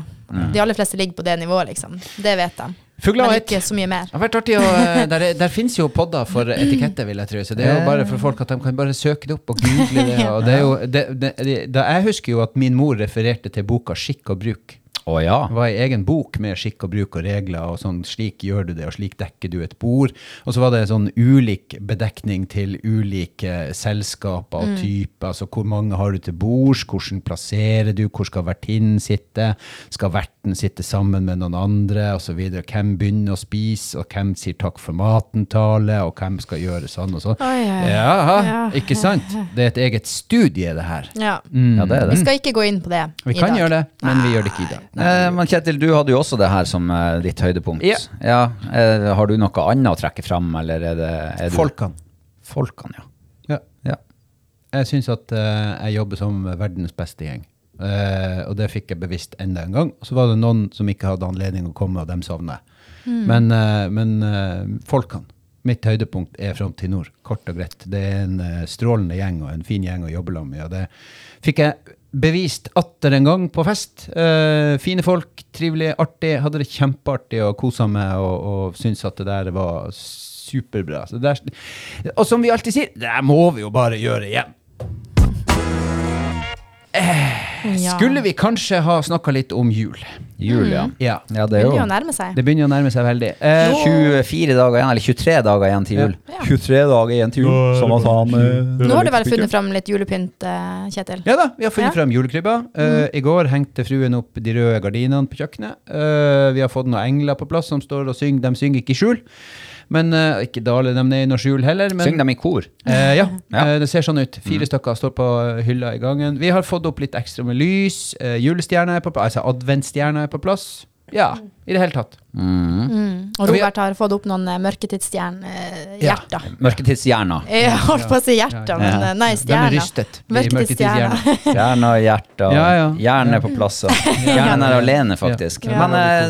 [SPEAKER 1] De aller fleste ligger på det nivået, liksom. Det vet de.
[SPEAKER 2] Fugler
[SPEAKER 1] Men
[SPEAKER 2] har ett.
[SPEAKER 1] ikke så mye mer.
[SPEAKER 2] Det har vært artig å, eh, Der, er- der finnes jo podder for etikette, vil jeg tro. Så det er jo bare for folk at de kan bare søke det opp og google det. Og det er jo, det, det, det, da jeg husker jo at min mor refererte til boka Skikk og bruk.
[SPEAKER 3] Å ja.
[SPEAKER 2] Det var ei egen bok med skikk og bruk og regler, og sånn slik gjør du det, og slik dekker du et bord. Og så var det sånn ulik bedekning til ulike selskaper
[SPEAKER 1] Mm.
[SPEAKER 2] og typer. Altså hvor mange har du til bords, hvordan plasserer du, hvor skal vertinnen sitte, skal verten sitte sammen med noen andre, osv. Hvem begynner å spise, og hvem sier takk for maten-tale, og hvem skal gjøre sånn og sånn.
[SPEAKER 1] Oi, oi, oi.
[SPEAKER 2] Jaha,
[SPEAKER 1] Ja.
[SPEAKER 2] ikke sant? Det er et eget studie, det her.
[SPEAKER 1] Ja.
[SPEAKER 3] ja, det er
[SPEAKER 1] Vi
[SPEAKER 3] det.
[SPEAKER 1] skal ikke gå inn på det
[SPEAKER 2] Vi
[SPEAKER 1] i
[SPEAKER 2] kan
[SPEAKER 1] dag.
[SPEAKER 2] gjøre det, men vi gjør det ikke i dag.
[SPEAKER 3] Eh, men Kjetil, du hadde jo også det her som eh, ditt høydepunkt.
[SPEAKER 2] Ja.
[SPEAKER 3] eh, har du noe annet å trekke fram, eller er det er du-
[SPEAKER 2] Folkene.
[SPEAKER 3] Folkene, ja.
[SPEAKER 2] Ja.
[SPEAKER 3] ja.
[SPEAKER 2] Jeg syns at eh, jeg jobber som verdens beste gjeng. Eh, og det fikk jeg bevisst enda en gang. Og så var det noen som ikke hadde anledning å komme, og dem savner jeg. Men, eh, men eh, folkene. Mitt høydepunkt er Front til nord, kort og greit. Det er en eh, strålende gjeng og en fin gjeng å jobbe sammen med. Og det fikk jeg bevist atter en gang på fest. Eh, fine folk, trivelig, artig. Hadde det kjempeartig og kosa meg og, og syntes at det der var superbra. Så det er, og som vi alltid sier, det der må vi jo bare gjøre igjen.
[SPEAKER 1] Ja.
[SPEAKER 2] Skulle vi kanskje ha snakka litt om jul?
[SPEAKER 3] Jul, ja.
[SPEAKER 1] Mm.
[SPEAKER 2] Ja.
[SPEAKER 3] Ja, det
[SPEAKER 1] Det
[SPEAKER 3] er
[SPEAKER 1] begynner jo å
[SPEAKER 3] jo
[SPEAKER 1] nærme seg.
[SPEAKER 2] Det begynner å nærme seg veldig. Eh,
[SPEAKER 3] 24 dager igjen, eller 23 dager igjen til jul.
[SPEAKER 1] Ja.
[SPEAKER 3] 23 dager igjen til jul, som han sa
[SPEAKER 1] Nå har du vel funnet fram litt julepynt, eh, Kjetil?
[SPEAKER 2] ja da, vi har funnet
[SPEAKER 1] Ja. Mm.
[SPEAKER 2] frem julekrybba. Eh, I går hengte fruen opp de røde gardinene på kjøkkenet. Eh, vi har fått noen engler på plass som står og synger. De synger ikke i skjul, men eh, ikke daler de ned i noe skjul heller. Men,
[SPEAKER 3] Syng dem i kor.
[SPEAKER 2] Eh, ja,
[SPEAKER 3] Ja.
[SPEAKER 2] eh, det ser sånn ut. Fire stykker står på hylla i gangen. Vi har fått opp litt ekstra med lys. Eh, julestjerna er på plass. Altså adventsstjerna er på plass. Ja, i det hele tatt.
[SPEAKER 3] Mm.
[SPEAKER 1] Mm. Og
[SPEAKER 2] Ja, vi-
[SPEAKER 1] Robert har fått opp noen eh, mørketidsstjernehjerter.
[SPEAKER 3] Mørketidshjerna.
[SPEAKER 1] Jeg holdt på å si hjerter, men eh, nei,
[SPEAKER 2] Den er
[SPEAKER 1] stjerner.
[SPEAKER 2] rystet. i
[SPEAKER 1] Mørketidsstjerna.
[SPEAKER 2] mørketidsstjerna.
[SPEAKER 3] Hjerne og hjerte.
[SPEAKER 2] Ja, ja.
[SPEAKER 3] og Hjerne på plass. og Hjernen er alene, faktisk.
[SPEAKER 1] Ja.
[SPEAKER 3] Men eh,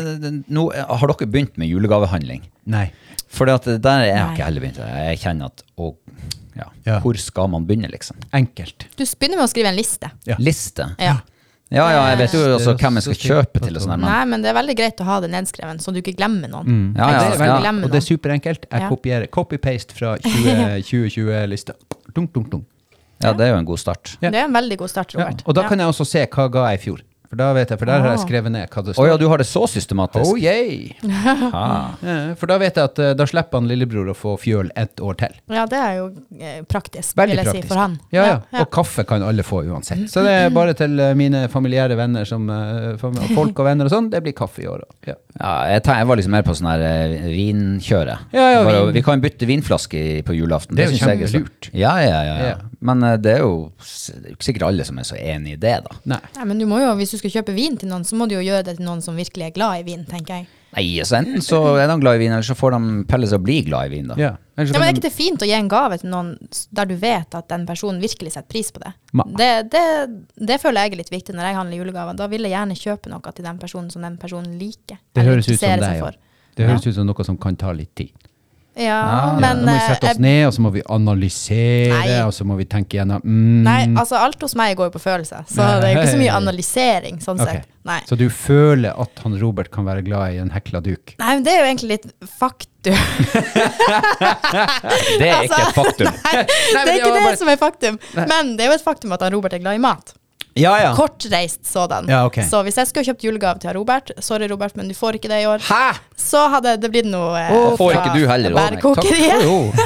[SPEAKER 3] nå har dere begynt med julegavehandling.
[SPEAKER 2] Nei.
[SPEAKER 3] For der er jeg har
[SPEAKER 1] Nei.
[SPEAKER 3] ikke heller begynt. Jeg kjenner at å, ja,
[SPEAKER 2] Ja.
[SPEAKER 3] Hvor skal man begynne, liksom?
[SPEAKER 2] Enkelt.
[SPEAKER 1] Du begynner med å skrive en liste.
[SPEAKER 2] Ja.
[SPEAKER 3] Liste.
[SPEAKER 1] Ja.
[SPEAKER 3] Ja, ja, jeg vet jo
[SPEAKER 2] Det er
[SPEAKER 3] også hvem jeg
[SPEAKER 2] så
[SPEAKER 3] skal kjøpe
[SPEAKER 2] fint.
[SPEAKER 3] til. og sånn der, men
[SPEAKER 1] Nei, men det er veldig greit å ha det nedskreven, så du ikke glemmer noen.
[SPEAKER 2] Og
[SPEAKER 3] Ja, ja,
[SPEAKER 2] det er veldig-
[SPEAKER 1] ja.
[SPEAKER 2] altså, Og det er superenkelt. Jeg
[SPEAKER 1] Ja.
[SPEAKER 2] kopierer copy-paste fra 2020-lista. Dunk, dunk, dunk.
[SPEAKER 3] Ja, det er jo en god start.
[SPEAKER 2] Ja.
[SPEAKER 1] Det er en veldig god start,
[SPEAKER 2] Ja.
[SPEAKER 1] Robert.
[SPEAKER 2] Og da kan jeg også se hva ga jeg i fjor. For da vet jeg, for der
[SPEAKER 1] Ah.
[SPEAKER 2] har jeg skrevet ned hva det
[SPEAKER 3] Å
[SPEAKER 2] står.
[SPEAKER 3] ja, du har det så systematisk?
[SPEAKER 2] Oh, yay.
[SPEAKER 3] Ah.
[SPEAKER 2] Ja, For da vet jeg at eh, da slipper han lillebror å få fjøl ett år til.
[SPEAKER 1] ja. det er jo eh, praktisk, vil
[SPEAKER 2] Veldig
[SPEAKER 1] jeg
[SPEAKER 2] praktisk.
[SPEAKER 1] si, for han. Mm.
[SPEAKER 2] Ja, ja. Og kaffe kan alle få uansett. Så det er bare til eh, mine familiære venner som eh, fam- og folk og venner og sånn. Det blir kaffe i år. da. Ja.
[SPEAKER 3] Ja, jeg, tenk- jeg var liksom mer på sånn her eh, vinkjøre.
[SPEAKER 2] Ja, ja,
[SPEAKER 3] Bare,
[SPEAKER 2] vin.
[SPEAKER 3] Vi kan bytte vinflaske i- på julaften.
[SPEAKER 2] Det er jo
[SPEAKER 3] synes jeg så-
[SPEAKER 2] kjempelurt.
[SPEAKER 3] Ja, ja, ja, ja.
[SPEAKER 2] Ja.
[SPEAKER 3] Men eh, det er jo s- det er jo ikke sikkert alle som er så enig i det, da.
[SPEAKER 2] Nei.
[SPEAKER 1] Nei, men du må jo, hvis du skal kjøpe vin til noen, så må du jo gjøre det til noen som virkelig er glad i vin, tenker jeg.
[SPEAKER 3] Nei, altså Enten så er de glad i vin, eller så får de pelle seg å bli glad i vin. da.
[SPEAKER 2] Ja. Ellers
[SPEAKER 1] Ja, men
[SPEAKER 2] så kan
[SPEAKER 1] er
[SPEAKER 2] de-
[SPEAKER 1] ikke det fint å gi en gave til noen s- der du vet at den personen virkelig setter pris på det?
[SPEAKER 2] Ma.
[SPEAKER 1] Det, det, det føler jeg er litt viktig når jeg handler julegaver. Da vil jeg gjerne kjøpe noe til den personen som den personen liker.
[SPEAKER 2] det
[SPEAKER 1] eller
[SPEAKER 2] høres ut som
[SPEAKER 1] interesserer
[SPEAKER 2] deg.
[SPEAKER 1] seg
[SPEAKER 2] Ja.
[SPEAKER 1] for.
[SPEAKER 2] Det høres ut som noe som kan ta litt tid.
[SPEAKER 1] Ja,
[SPEAKER 3] Ah,
[SPEAKER 2] Ja,
[SPEAKER 1] men
[SPEAKER 2] da må vi
[SPEAKER 1] eh,
[SPEAKER 2] sette oss
[SPEAKER 1] jeg,
[SPEAKER 2] ned, og så må vi analysere,
[SPEAKER 1] Nei.
[SPEAKER 2] og så må vi tenke gjennom mm,
[SPEAKER 1] Nei, altså alt hos meg går jo på følelser, så det er jo ikke så mye analysering sånn
[SPEAKER 2] ok.
[SPEAKER 1] sett. Nei.
[SPEAKER 2] Så du føler at han Robert kan være glad i en hekla duk?
[SPEAKER 1] Nei, men det er jo egentlig litt faktum.
[SPEAKER 3] Det er ikke
[SPEAKER 1] Altså,
[SPEAKER 3] et faktum.
[SPEAKER 1] Nei, det
[SPEAKER 2] det
[SPEAKER 1] er ikke
[SPEAKER 2] var
[SPEAKER 1] det
[SPEAKER 2] bare-
[SPEAKER 1] som er faktum. Men det er jo et faktum at han Robert er glad i mat.
[SPEAKER 2] Ja, ja.
[SPEAKER 1] Kortreist sådan.
[SPEAKER 2] Ja, ok.
[SPEAKER 1] Så hvis jeg skulle kjøpt julegave til han Robert, sorry Robert, men du får ikke det i år,
[SPEAKER 3] Hæ?!
[SPEAKER 1] så hadde det blitt noe eh,
[SPEAKER 3] Og får
[SPEAKER 1] fra
[SPEAKER 3] ikke du heller, Robert.
[SPEAKER 1] bærkokeriet.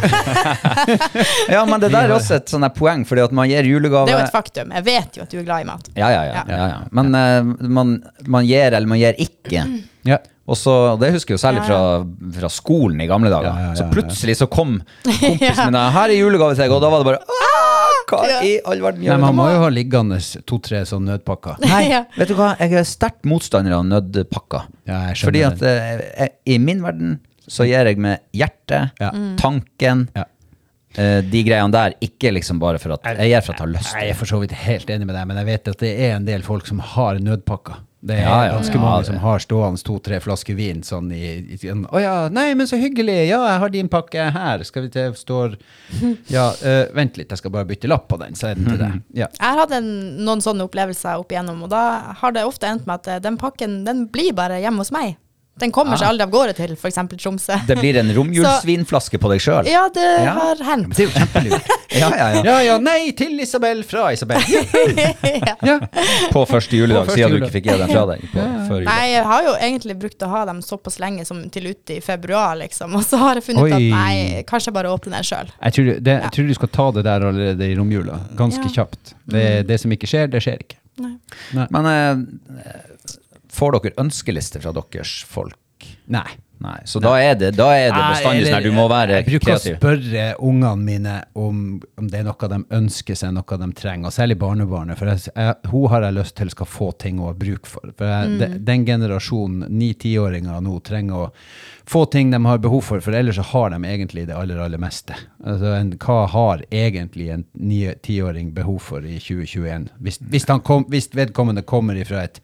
[SPEAKER 3] Ja, men det der er også et sånn her poeng, fordi at man gir julegave
[SPEAKER 1] Det er jo et faktum. Jeg vet jo at du er glad i mat.
[SPEAKER 3] Ja, ja, ja.
[SPEAKER 1] Ja.
[SPEAKER 3] ja, ja. Men eh, man, man gir eller man gir ikke.
[SPEAKER 2] Ja.
[SPEAKER 3] Og så, Det husker jeg jo særlig
[SPEAKER 1] Ja,
[SPEAKER 3] fra, fra skolen i gamle dager.
[SPEAKER 2] Ja, ja, ja,
[SPEAKER 3] så
[SPEAKER 2] ja.
[SPEAKER 3] plutselig så kom kompisen
[SPEAKER 1] Ja.
[SPEAKER 3] min og 'her er julegave til deg', og da var det bare «Ah, Hva
[SPEAKER 1] Ja.
[SPEAKER 3] i all verden
[SPEAKER 2] Nei,
[SPEAKER 3] gjør
[SPEAKER 2] men han
[SPEAKER 3] vi nå?»
[SPEAKER 2] må jo ha liggende to-tre sånne nødpakker.
[SPEAKER 3] Nei,
[SPEAKER 1] Ja.
[SPEAKER 3] vet du hva, jeg er sterkt motstander av nødpakker.
[SPEAKER 2] Ja, jeg
[SPEAKER 3] Fordi
[SPEAKER 2] skjønner
[SPEAKER 3] at eh, jeg, i min verden så gir jeg med hjertet,
[SPEAKER 2] Ja.
[SPEAKER 1] Mm.
[SPEAKER 3] tanken,
[SPEAKER 2] Ja.
[SPEAKER 3] eh, de greiene der. Ikke liksom bare for at Jeg gjør for at jeg har lyst.
[SPEAKER 2] Nei, jeg er for så vidt helt enig med deg, men jeg vet at det er en del folk som har nødpakker. Det er
[SPEAKER 3] Ja, ja,
[SPEAKER 2] ganske
[SPEAKER 3] ja,
[SPEAKER 2] mange
[SPEAKER 3] det-
[SPEAKER 2] som har stående to-tre flasker vin sånn i, i sånn, Å ja, nei, men så hyggelig! Ja, jeg har din pakke her. Skal vi til står Ja, eh, vent litt, jeg skal bare bytte lapp på den, så er den til deg. Ja.
[SPEAKER 1] Jeg har hatt en, noen sånne opplevelser opp igjennom, og da har det ofte endt med at eh, den pakken den blir bare hjemme hos meg. Den kommer seg aldri av gårde til f.eks. Tromsø.
[SPEAKER 3] Det blir en romjulsvinflaske på deg sjøl.
[SPEAKER 1] Ja, det
[SPEAKER 3] Ja.
[SPEAKER 1] har hendt.
[SPEAKER 2] Det er jo kjempelurt.
[SPEAKER 3] Ja, ja, ja.
[SPEAKER 2] Ja ja, nei til Isabel fra Isabel.
[SPEAKER 1] ja.
[SPEAKER 2] Ja.
[SPEAKER 3] På første juledag,
[SPEAKER 2] På første
[SPEAKER 3] siden du
[SPEAKER 2] juledag.
[SPEAKER 3] ikke fikk gi den fra deg. På, før jul.
[SPEAKER 1] Nei, jeg har jo egentlig brukt å ha dem såpass lenge som til ute i februar, liksom. Og så har jeg funnet ut at
[SPEAKER 2] Oi.
[SPEAKER 1] nei, kanskje jeg bare åpner den sjøl.
[SPEAKER 2] Jeg tror, du- det, jeg tror du skal ta det der allerede i romjula. Ganske
[SPEAKER 1] Ja.
[SPEAKER 2] kjapt.
[SPEAKER 3] Mm.
[SPEAKER 2] Det, det som ikke skjer, det skjer ikke.
[SPEAKER 3] Men eh, får dere ønskeliste fra deres folk?
[SPEAKER 2] Nei.
[SPEAKER 3] Nei. Så da er det, da er det bestandig sånn her, du må være
[SPEAKER 2] Jeg bruker å
[SPEAKER 3] kreativ.
[SPEAKER 2] spørre ungene mine om, om det er noe de ønsker seg, noe de trenger, og særlig barnebarnet. For jeg, jeg, hun har jeg lyst til skal få ting hun har bruk for. For jeg, de, den generasjonen, ni-tiåringer nå, trenger å få ting de har behov for, for ellers så har de egentlig det aller, aller meste. Altså, en, hva har egentlig en ni- tiåring behov for i 2021? Hvis, hvis, han kom, hvis vedkommende kommer ifra et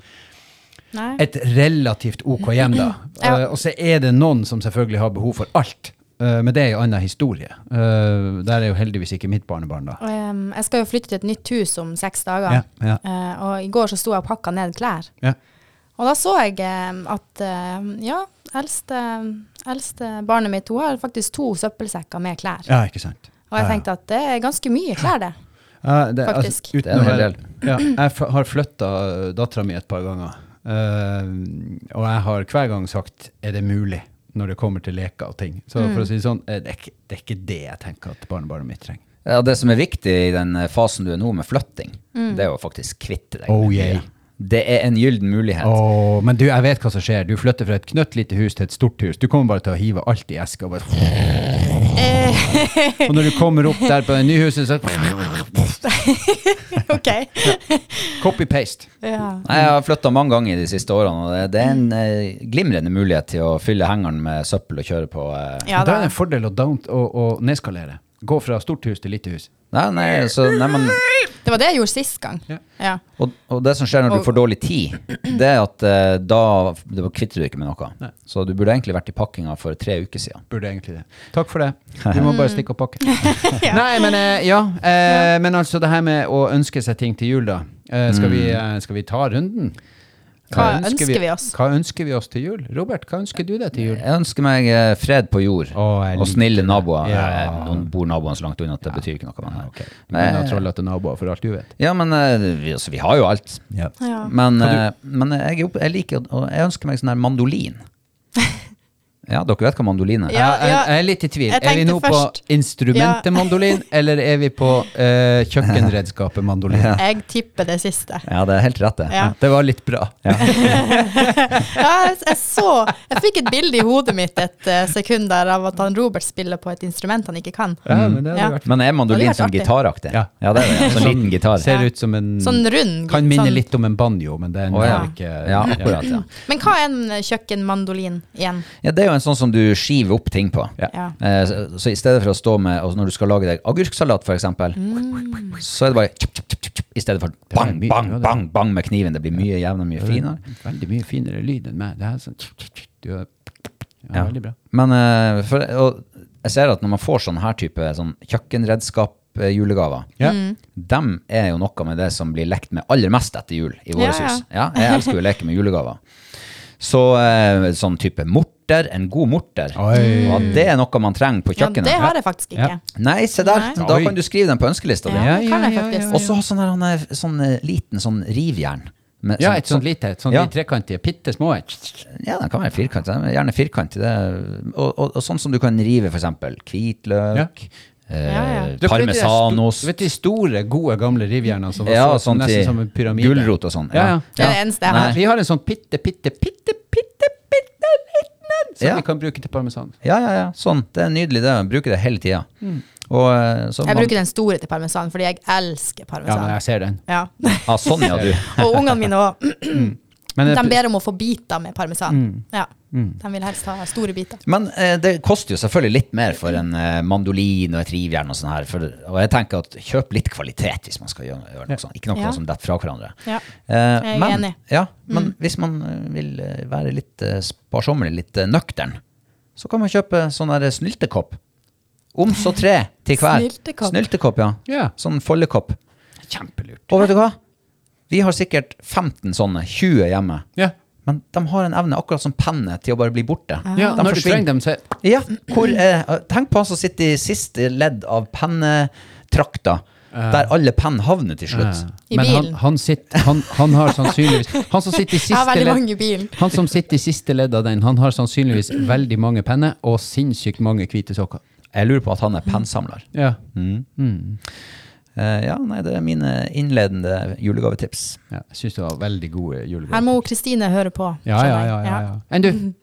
[SPEAKER 1] Nei.
[SPEAKER 2] et relativt ok hjem, da.
[SPEAKER 1] Ja.
[SPEAKER 2] Eh, og så er det noen som selvfølgelig har behov for alt. eh, men det er en annen historie. Eh, der er jo heldigvis ikke mitt barnebarn, da.
[SPEAKER 1] Og, em, jeg skal jo flytte til et nytt hus om seks dager,
[SPEAKER 2] Ja, ja.
[SPEAKER 1] Eh, og i går så sto jeg og pakka ned klær.
[SPEAKER 2] Ja.
[SPEAKER 1] Og da så jeg em, at em, ja, eldste, eldste barnet mitt hun har faktisk to søppelsekker med klær.
[SPEAKER 2] ja, ikke sant.
[SPEAKER 1] Og jeg
[SPEAKER 2] Ja, ja.
[SPEAKER 1] tenkte at det er ganske mye klær, det.
[SPEAKER 2] Ja, det,
[SPEAKER 1] Faktisk.
[SPEAKER 2] Altså,
[SPEAKER 3] Det er
[SPEAKER 2] uten
[SPEAKER 3] en
[SPEAKER 2] å
[SPEAKER 3] hel
[SPEAKER 2] være, ja, jeg f har flytta dattera mi et par ganger, eh, og jeg har hver gang sagt 'er det mulig?' når det kommer til leker og ting. Så
[SPEAKER 1] Mm.
[SPEAKER 2] for å si det sånn, eh, det er, ikke, det er ikke det jeg tenker at barnebarnet mitt trenger.
[SPEAKER 3] Ja, det som er viktig i den eh, fasen du er nå, med flytting, det er jo faktisk kvitte deg.
[SPEAKER 2] Oh,
[SPEAKER 3] med mye.
[SPEAKER 2] yeah.
[SPEAKER 3] Det er en gyllen mulighet.
[SPEAKER 2] Åh, men du, jeg vet hva som skjer. Du flytter fra et knøtt lite hus til et stort hus. Du kommer bare til å hive alt i eska. og Bare...
[SPEAKER 1] Eh,
[SPEAKER 2] Og når du kommer opp der på det nyhuset, så
[SPEAKER 1] OK.
[SPEAKER 2] copy-paste.
[SPEAKER 1] Ja.
[SPEAKER 3] Nei, Jeg har flytta mange ganger de siste årene, og det- det er en eh, glimrende mulighet til å fylle hengeren med søppel og kjøre på. eh.
[SPEAKER 1] ja
[SPEAKER 2] det er
[SPEAKER 1] da.
[SPEAKER 2] en fordel å, down, å, å nedskalere. Gå fra stort hus til lite hus.
[SPEAKER 3] Nei, nei, så, nei, men,
[SPEAKER 1] Det var det jeg gjorde sist gang.
[SPEAKER 2] Ja.
[SPEAKER 1] Ja.
[SPEAKER 3] og, og det som skjer når du
[SPEAKER 1] Og-
[SPEAKER 3] får dårlig tid, det er at eh, da da kvitter du ikke med noe. Så du burde egentlig vært i pakkinga for tre uker siden.
[SPEAKER 2] Burde egentlig det. Takk for det. Du må bare stikke og pakke. Nei, men eh, ja. eh, Men altså, det her med å ønske seg ting til jul, da. Eh, Skal vi, eh, skal vi ta runden?
[SPEAKER 1] Hva ønsker vi oss?
[SPEAKER 2] Hva ønsker vi oss til jul? Robert, hva ønsker du deg til jul?
[SPEAKER 3] Jeg ønsker meg eh, fred på jord
[SPEAKER 2] Å, jeg
[SPEAKER 3] og
[SPEAKER 2] liker
[SPEAKER 3] snille naboer.
[SPEAKER 2] Ja.
[SPEAKER 3] Eh, Nå bor naboen så langt unna at det betyr ikke noe. Men, eh,
[SPEAKER 2] Du kan ha trollete naboer, for alt du vet.
[SPEAKER 3] ja, men eh, vi, altså, vi har jo alt.
[SPEAKER 1] Ja.
[SPEAKER 3] Men, eh, men jeg, er opp, jeg liker å- og jeg ønsker meg sånn her mandolin. ja, dere vet hva mandolin er?
[SPEAKER 1] Ja,
[SPEAKER 2] jeg, jeg, jeg er litt i tvil.
[SPEAKER 1] Jeg
[SPEAKER 2] Er vi
[SPEAKER 1] tenkte
[SPEAKER 2] nå
[SPEAKER 1] først-
[SPEAKER 2] på instrumentet
[SPEAKER 1] Ja.
[SPEAKER 2] mandolin, eller er vi på eh, kjøkkenredskapet mandolin?
[SPEAKER 1] Jeg tipper det siste.
[SPEAKER 3] Ja, det er helt rett, det.
[SPEAKER 1] Ja.
[SPEAKER 2] Det var litt bra.
[SPEAKER 1] Ja, jeg, jeg så Jeg fikk et bilde i hodet mitt et eh, sekund der av at han Robert spiller på et instrument han ikke kan.
[SPEAKER 2] Ja, men det hadde
[SPEAKER 1] Ja.
[SPEAKER 2] vært
[SPEAKER 3] Men er mandolin
[SPEAKER 1] Det hadde
[SPEAKER 3] sånn
[SPEAKER 1] vært
[SPEAKER 3] gitaraktig?
[SPEAKER 2] Ja.
[SPEAKER 3] det er det. ja. Sånn liten gitar.
[SPEAKER 2] Ser ut som en
[SPEAKER 1] Sånn rund.
[SPEAKER 2] Kan minne
[SPEAKER 1] sånn.
[SPEAKER 2] litt om en banjo, men det er en
[SPEAKER 3] Å, ja.
[SPEAKER 2] ikke
[SPEAKER 3] Ja, akkurat, ja.
[SPEAKER 1] Men hva er en kjøkkenmandolin igjen?
[SPEAKER 3] ja, det er jo en sånn som du skiver opp ting på.
[SPEAKER 2] Ja.
[SPEAKER 1] Ja.
[SPEAKER 3] Eh, Så, så i stedet for å stå med og Når du skal lage deg agurksalat, f.eks., eksempel så er det bare tjup, tjup, tjup, tjup, I stedet for bang,
[SPEAKER 2] mye-
[SPEAKER 3] bang,
[SPEAKER 2] ja, det-
[SPEAKER 3] bang, bang med kniven. Det blir mye jevnere, mye finere.
[SPEAKER 2] Veldig mye finere lyd enn meg. Det er sånn du er, ja,
[SPEAKER 3] Ja.
[SPEAKER 2] Veldig bra.
[SPEAKER 3] Men eh, for, og jeg ser at når man får sånn her type sånn kjøkkenredskap-julegaver,
[SPEAKER 2] Ja.
[SPEAKER 3] dem er jo noe med det som blir lekt med aller mest etter jul i
[SPEAKER 1] Ja,
[SPEAKER 3] våre
[SPEAKER 1] ja.
[SPEAKER 3] hus. Ja, jeg elsker jo å leke med julegaver. Så eh, sånn type morter, en god morter,
[SPEAKER 2] Oi.
[SPEAKER 3] og at det er noe man trenger på
[SPEAKER 1] Ja,
[SPEAKER 3] kjøkkenet.
[SPEAKER 1] det har jeg faktisk ikke.
[SPEAKER 3] Nei, se der,
[SPEAKER 1] Nei.
[SPEAKER 3] da
[SPEAKER 2] Oi.
[SPEAKER 3] kan du skrive den på ønskelista
[SPEAKER 1] Ja,
[SPEAKER 3] di.
[SPEAKER 1] det kan jeg faktisk.
[SPEAKER 3] Og så ha sånn, her, han er- sånn eh, liten sånn rivjern. med
[SPEAKER 2] Ja,
[SPEAKER 3] sånn-
[SPEAKER 2] et sånt lite, et sånt
[SPEAKER 3] Ja.
[SPEAKER 2] de trekantige, bitte små et.
[SPEAKER 3] Ja, den kan være firkant. Den er Gjerne firkant. Det er, og, og, og sånn som du kan rive f.eks. hvitløk, eh,
[SPEAKER 1] Ja, ja.
[SPEAKER 2] Du vet de der sto-
[SPEAKER 3] parmesanost
[SPEAKER 2] Vet du de store, gode, gamle rivjernene som var
[SPEAKER 3] ja,
[SPEAKER 2] så,
[SPEAKER 3] sånn
[SPEAKER 2] nesten
[SPEAKER 3] til
[SPEAKER 2] som en pyramide?
[SPEAKER 3] Gulrot og sånn.
[SPEAKER 2] Ja, ja.
[SPEAKER 1] Det er det eneste jeg
[SPEAKER 2] Nei.
[SPEAKER 1] har.
[SPEAKER 2] Vi har en sånn bitte, bitte, bitte, bitte, bitte liten en som
[SPEAKER 3] Ja.
[SPEAKER 2] vi kan bruke til parmesan.
[SPEAKER 3] Ja, ja, ja. Sånn. Det er nydelig, det. Bruker det hele tida. Og eh, så
[SPEAKER 1] Mm. Jeg
[SPEAKER 3] man-
[SPEAKER 1] bruker den store til parmesan, fordi jeg elsker
[SPEAKER 2] Ja, men
[SPEAKER 1] parmesan.
[SPEAKER 2] jeg ser den.
[SPEAKER 1] Ja.
[SPEAKER 3] Ja, sånn, ja, du.
[SPEAKER 1] Og ungene mine òg.
[SPEAKER 2] Men
[SPEAKER 1] De
[SPEAKER 2] det- Mm.
[SPEAKER 1] ber om å få biter med parmesan. Ja. De vil helst ha store biter.
[SPEAKER 3] Men eh, det koster jo selvfølgelig litt mer for en eh, mandolin og et rivjern og sånn her. For, og jeg tenker at kjøp litt kvalitet hvis man skal gjøre, gjøre noe sånt. Ikke noe
[SPEAKER 1] Ja.
[SPEAKER 3] som detter fra hverandre.
[SPEAKER 1] Ja.
[SPEAKER 3] Eh,
[SPEAKER 1] Jeg er
[SPEAKER 3] men,
[SPEAKER 1] enig. Mm.
[SPEAKER 3] Ja, men hvis man eh, vil eh, være litt eh, sparsommelig, litt eh, nøktern, så kan man kjøpe sånn der snyltekopp. Om så tre til hver.
[SPEAKER 1] Snyltekopp.
[SPEAKER 3] Snyltekopp, ja.
[SPEAKER 2] Ja.
[SPEAKER 3] Sånn foldekopp.
[SPEAKER 2] Kjempelurt.
[SPEAKER 3] Og vet du hva? Vi har sikkert 15 sånne, 20 hjemme.
[SPEAKER 2] Ja.
[SPEAKER 3] Men de har en evne, akkurat som penne, til å bare bli borte.
[SPEAKER 2] Ja,
[SPEAKER 3] De
[SPEAKER 2] når du
[SPEAKER 3] forsvinner.
[SPEAKER 2] trenger dem, så
[SPEAKER 3] Ja, hvor, eh, tenk på han som sitter i siste ledd av pennetrakta, der alle penn havner til slutt.
[SPEAKER 1] I
[SPEAKER 2] Men han,
[SPEAKER 1] bilen.
[SPEAKER 2] han, sitter, han, han har sannsynligvis Han som sitter i
[SPEAKER 1] Jeg har
[SPEAKER 2] siste
[SPEAKER 1] veldig
[SPEAKER 2] ledd
[SPEAKER 1] mange i bilen.
[SPEAKER 2] han som sitter i siste ledd av den, han har sannsynligvis veldig mange penner og sinnssykt mange hvite sokker. Mm.
[SPEAKER 3] Jeg lurer på at han er pennsamler.
[SPEAKER 2] Ja.
[SPEAKER 3] Eh, ja, nei, det er mine innledende julegavetips.
[SPEAKER 2] ja jeg syns det var veldig gode
[SPEAKER 1] Her
[SPEAKER 2] julegaver.
[SPEAKER 1] må Kristine høre på.
[SPEAKER 2] Ja, ja, ja.
[SPEAKER 1] skjønner jeg.
[SPEAKER 2] ja, ja. Enn du?
[SPEAKER 1] Mm.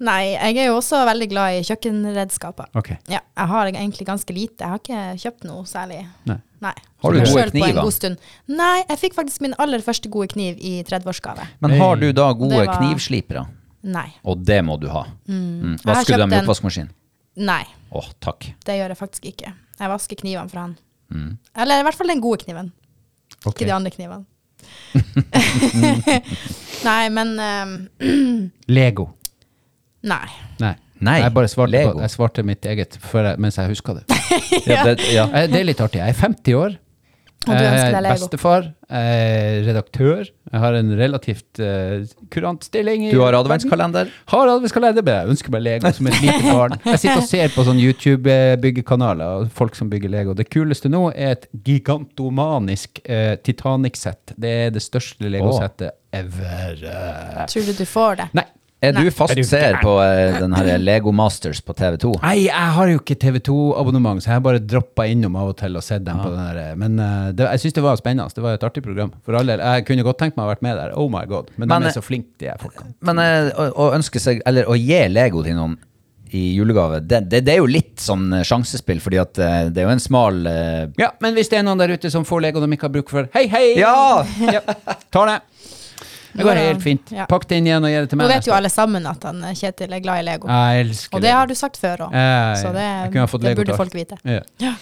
[SPEAKER 1] Nei, jeg er jo også veldig glad i kjøkkenredskaper.
[SPEAKER 2] Ok.
[SPEAKER 1] Ja, jeg har egentlig ganske lite. Jeg har ikke kjøpt noe særlig.
[SPEAKER 2] Nei.
[SPEAKER 1] Nei.
[SPEAKER 3] Har du
[SPEAKER 1] Selv
[SPEAKER 3] gode
[SPEAKER 1] på en
[SPEAKER 3] kniver?
[SPEAKER 1] god stund. Nei, jeg fikk faktisk min aller første gode kniv i 30-årsgave.
[SPEAKER 3] Men
[SPEAKER 2] Hey.
[SPEAKER 3] har du da gode
[SPEAKER 1] Det var-
[SPEAKER 3] knivslipere?
[SPEAKER 1] Nei.
[SPEAKER 3] Og det må du ha. Mm.
[SPEAKER 1] Jeg har
[SPEAKER 3] Vasker du dem
[SPEAKER 1] kjøpt
[SPEAKER 3] i
[SPEAKER 1] en-
[SPEAKER 3] oppvaskmaskinen?
[SPEAKER 1] Nei,
[SPEAKER 3] Åh, takk.
[SPEAKER 1] det gjør jeg faktisk ikke. Jeg vasker knivene fra han.
[SPEAKER 3] Mm.
[SPEAKER 1] Eller i hvert fall den gode kniven,
[SPEAKER 2] Ok.
[SPEAKER 1] ikke de andre knivene. nei, men eh,
[SPEAKER 2] Lego.
[SPEAKER 1] Nei.
[SPEAKER 2] Nei.
[SPEAKER 3] Nei,
[SPEAKER 2] jeg bare svarte,
[SPEAKER 3] Lego.
[SPEAKER 2] på, jeg svarte mitt eget før jeg, mens jeg huska det.
[SPEAKER 3] Ja, det, ja.
[SPEAKER 2] Eh, Det er litt artig. Jeg er 50 år.
[SPEAKER 1] Og du ønsker
[SPEAKER 2] Jeg
[SPEAKER 1] deg
[SPEAKER 2] er
[SPEAKER 1] Lego.
[SPEAKER 2] Bestefar. Jeg er redaktør. Jeg har en relativt eh, kurant stilling. i
[SPEAKER 3] Du har
[SPEAKER 2] verden.
[SPEAKER 3] adventskalender?
[SPEAKER 2] Har adventskalender, men jeg ønsker meg Lego som et lite barn. Jeg sitter og ser på sånn YouTube-byggekanaler og folk som bygger Lego. Det kuleste nå er et gigantomanisk eh, Titanic-sett. Det er det største Lego-settet ever.
[SPEAKER 1] Tror du du får det?
[SPEAKER 2] Nei.
[SPEAKER 3] Er du
[SPEAKER 1] Nei.
[SPEAKER 3] fast
[SPEAKER 2] Er du
[SPEAKER 3] seer
[SPEAKER 2] gæren?
[SPEAKER 3] på eh, den her Lego Masters på TV2?
[SPEAKER 2] Nei, jeg har jo ikke TV2-abonnement, så jeg har bare droppa innom av og til og sett dem. på den der. Men eh, det, jeg syns det var spennende. Det var et artig program. For all del. Jeg kunne godt tenkt meg å ha vært med der. Oh my god. Men,
[SPEAKER 3] Men,
[SPEAKER 2] de
[SPEAKER 3] eh,
[SPEAKER 2] er så flinke, de her folkene.
[SPEAKER 3] Men eh, å, å ønske seg, eller å gi Lego til noen, i julegave, det, det, det er jo litt sånn sjansespill, fordi at eh, det er jo en smal eh,
[SPEAKER 2] Ja, men hvis det er noen der ute som får Lego de ikke har bruk for, hei, hei!
[SPEAKER 3] Ja!
[SPEAKER 2] ja tar det. Det går helt fint.
[SPEAKER 1] Ja.
[SPEAKER 2] Pakk det inn igjen og gi det til
[SPEAKER 1] Nå vet
[SPEAKER 2] meg.
[SPEAKER 1] jo
[SPEAKER 2] neste år.
[SPEAKER 1] alle sammen at han, eh, Kjetil er glad i Lego.
[SPEAKER 2] Jeg elsker
[SPEAKER 1] Og det har du sagt før òg,
[SPEAKER 2] Ja, ja,
[SPEAKER 1] så det,
[SPEAKER 2] jeg kunne ha fått
[SPEAKER 1] det
[SPEAKER 2] Lego
[SPEAKER 1] burde
[SPEAKER 2] til alt.
[SPEAKER 1] folk vite.
[SPEAKER 2] Ja.
[SPEAKER 3] Ja,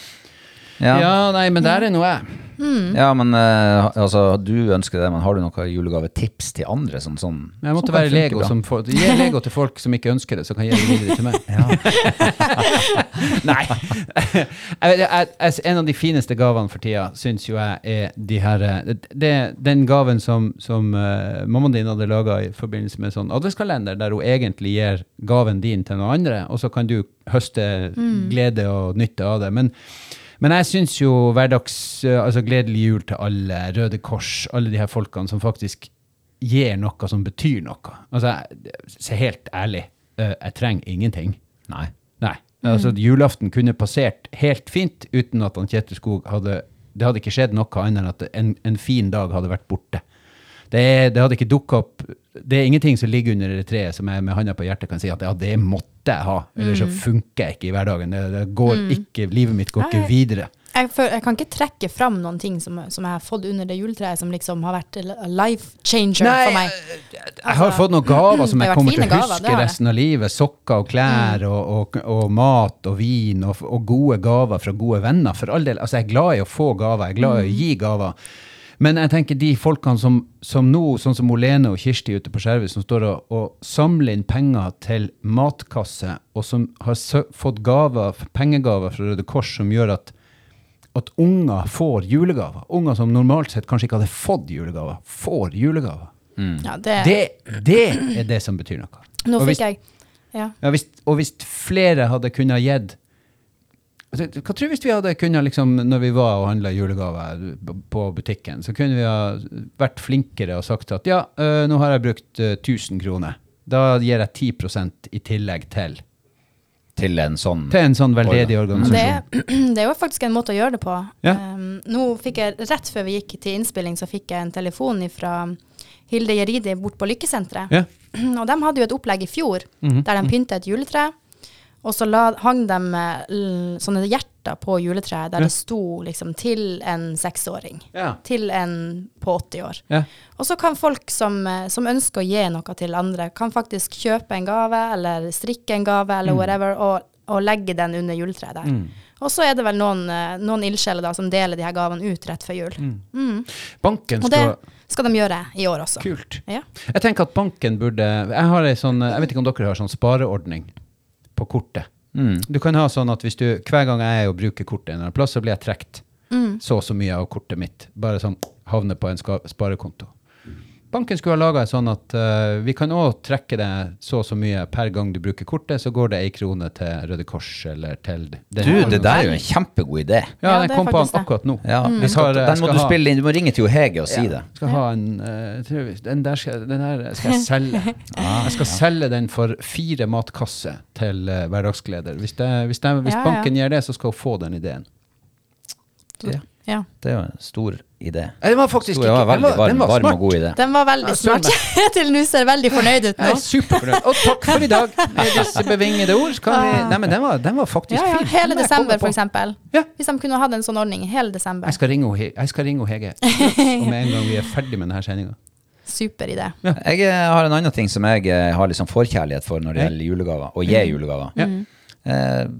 [SPEAKER 3] ja.
[SPEAKER 2] ja, nei, men der er noe jeg.
[SPEAKER 1] Mm.
[SPEAKER 3] men eh, altså, du ønsker det, men har du noen julegavetips til andre? Sånn, sånn,
[SPEAKER 2] Jeg måtte
[SPEAKER 3] som kan
[SPEAKER 2] være
[SPEAKER 3] funke
[SPEAKER 2] Lego
[SPEAKER 3] bra?
[SPEAKER 2] som får Gi Lego til folk som ikke ønsker det, så kan jeg gi det videre til meg. Nei. Jeg vet, jeg, jeg, en av de fineste gavene for tida syns jo jeg er de her eh, det, Den gaven som, som eh, mammaen din hadde laga i forbindelse med sånn adventskalender, der hun egentlig gir gaven din til noen andre, og så kan du høste glede og nytte av det. Men, men jeg syns jo hverdags eh, Altså gledelig jul til alle, Røde Kors, alle de her folkene som faktisk gir noe som betyr noe. Altså, jeg, så helt ærlig, eh, jeg trenger ingenting.
[SPEAKER 3] Nei.
[SPEAKER 2] Nei.
[SPEAKER 1] Mm.
[SPEAKER 2] Altså, julaften kunne passert helt fint uten at han Kjetil Skog hadde Det hadde ikke skjedd noe annet enn at en, en fin dag hadde vært borte. Det, er, det hadde ikke dukka opp Det er ingenting som ligger under det treet som jeg med handa på hjertet kan si at ja, det måtte jeg ha, ellers så funker jeg ikke i hverdagen. Det, det går ikke, Livet mitt går
[SPEAKER 1] Mm. Nei.
[SPEAKER 2] ikke videre.
[SPEAKER 1] Jeg, føl- jeg kan ikke trekke fram noen ting som, som jeg har fått under det juletreet, som liksom har vært a life changer
[SPEAKER 2] Nei,
[SPEAKER 1] for meg.
[SPEAKER 2] Jeg har fått noen gaver
[SPEAKER 1] Altså, det
[SPEAKER 2] som jeg
[SPEAKER 1] har vært
[SPEAKER 2] kommer til
[SPEAKER 1] fine
[SPEAKER 2] å
[SPEAKER 1] gaver, det Mm.
[SPEAKER 2] huske
[SPEAKER 1] har jeg.
[SPEAKER 2] resten av livet. Sokker og klær og, og, og mat og vin og, og gode gaver fra gode venner. For all del, altså Jeg er glad i å få gaver, jeg er glad i
[SPEAKER 1] Mm.
[SPEAKER 2] å gi gaver. Men jeg tenker de folkene som, som nå, sånn som Olene og Kirsti ute på Skjervøy, som står og, og samler inn penger til matkasse, og som har sø fått gaver, pengegaver fra Røde Kors som gjør at at unger får julegaver. Unger som normalt sett kanskje ikke hadde fått julegaver, får julegaver.
[SPEAKER 1] Ja, det,
[SPEAKER 2] Mm. Det, det er det som betyr noe.
[SPEAKER 1] nå
[SPEAKER 2] og, hvis,
[SPEAKER 1] fikk jeg ja.
[SPEAKER 2] ja, hvis, og hvis flere hadde kunnet gitt Altså, Hva tror du hvis vi hadde kunnet, liksom, når vi var og handla julegaver b- på butikken, så kunne vi ha vært flinkere og sagt at ja, øh, nå har jeg brukt øh, 1000 kroner. Da gir jeg 10 i tillegg til.
[SPEAKER 3] Til en sånn
[SPEAKER 2] Til en sånn veldedig
[SPEAKER 1] Men
[SPEAKER 2] organisasjon.
[SPEAKER 1] det, det er jo faktisk en måte å gjøre det på.
[SPEAKER 2] Ja.
[SPEAKER 1] Um, nå fikk jeg, Rett før vi gikk til innspilling, så fikk jeg en telefon fra Hilde Gjeride bort på Lykkesenteret.
[SPEAKER 2] Ja. Mhm.
[SPEAKER 1] Og de hadde jo et opplegg i fjor der de pynta et juletre. Og så la, hang de eh, l- sånne hjerter på juletreet der
[SPEAKER 2] Ja.
[SPEAKER 1] det sto liksom til en seksåring.
[SPEAKER 2] Ja.
[SPEAKER 1] Til en på 80 år.
[SPEAKER 2] Ja.
[SPEAKER 1] Og så kan folk som, eh, som ønsker å gi noe til andre, kan faktisk kjøpe en gave eller strikke en gave
[SPEAKER 2] Mm.
[SPEAKER 1] eller whatever, og, og legge den under juletreet der. Og så er det vel noen, eh, noen ildsjeler da som deler de her gavene ut rett før jul.
[SPEAKER 2] Mm. Banken
[SPEAKER 1] Og
[SPEAKER 2] skal
[SPEAKER 1] det skal de gjøre i år også.
[SPEAKER 2] Kult.
[SPEAKER 1] Ja.
[SPEAKER 2] Jeg tenker at banken burde Jeg har ei sånn Jeg vet ikke om dere har sånn spareordning på kortet.
[SPEAKER 3] Mm.
[SPEAKER 2] Du kan ha sånn at hvis du Hver gang jeg er og bruker kortet en eller annen plass, så blir jeg trukket
[SPEAKER 1] Mm.
[SPEAKER 2] så og så mye av kortet mitt. Bare sånn havner på en ska- sparekonto. Banken skulle ha laga sånn at eh, vi kan òg trekke det så og så mye per gang du bruker kortet, så går det ei krone til Røde Kors eller til den-
[SPEAKER 3] Du, det der er jo en kjempegod idé.
[SPEAKER 2] Ja,
[SPEAKER 1] Ja,
[SPEAKER 2] den
[SPEAKER 1] det er
[SPEAKER 2] kom på han
[SPEAKER 1] faktisk det.
[SPEAKER 2] akkurat nå.
[SPEAKER 3] Ja,
[SPEAKER 2] Vi
[SPEAKER 1] Mm.
[SPEAKER 3] vi skal,
[SPEAKER 2] tar, eh,
[SPEAKER 3] den må
[SPEAKER 2] skal
[SPEAKER 3] du
[SPEAKER 2] ha-
[SPEAKER 3] spille inn. Du må ringe til Hege og si det.
[SPEAKER 2] skal ha en eh, jeg tror vi- Den der skal, den her skal jeg selge. Ah. Jeg skal selge den for fire matkasser til eh, hverdagsgleder. Hvis, det, hvis, det, hvis
[SPEAKER 1] Ja, ja.
[SPEAKER 2] banken gjør det, så skal hun få den ideen.
[SPEAKER 3] Ja.
[SPEAKER 1] Ja.
[SPEAKER 3] Det er jo en stor idé.
[SPEAKER 2] Nei, Den var faktisk
[SPEAKER 3] Stor, det var
[SPEAKER 2] ikke
[SPEAKER 3] veldig varm, varm og god idé.
[SPEAKER 1] Den var veldig
[SPEAKER 2] Ja, søren
[SPEAKER 1] smart. Til nå ser veldig fornøyd ut
[SPEAKER 2] Jeg
[SPEAKER 1] nå.
[SPEAKER 2] er superfornøyd. Og takk for i dag. Med disse bevingede ord kan vi Nei, men den var, den var faktisk
[SPEAKER 1] Ah. Ja, ja.
[SPEAKER 2] fin.
[SPEAKER 1] Hele
[SPEAKER 2] Den jeg kommer
[SPEAKER 1] desember,
[SPEAKER 2] på.
[SPEAKER 1] for eksempel.
[SPEAKER 2] Ja.
[SPEAKER 1] Hvis de kunne hatt en sånn ordning hele desember.
[SPEAKER 2] Jeg skal ringe hun He- jeg skal ringe hun Hege straks, med en gang vi er ferdig med denne sendinga.
[SPEAKER 1] Super idé.
[SPEAKER 3] Jeg eh, har en annen ting som jeg eh, har liksom forkjærlighet for når det
[SPEAKER 2] Ja.
[SPEAKER 3] gjelder julegaver, og gi julegaver.
[SPEAKER 2] Ja.
[SPEAKER 1] Mm.
[SPEAKER 3] Eh,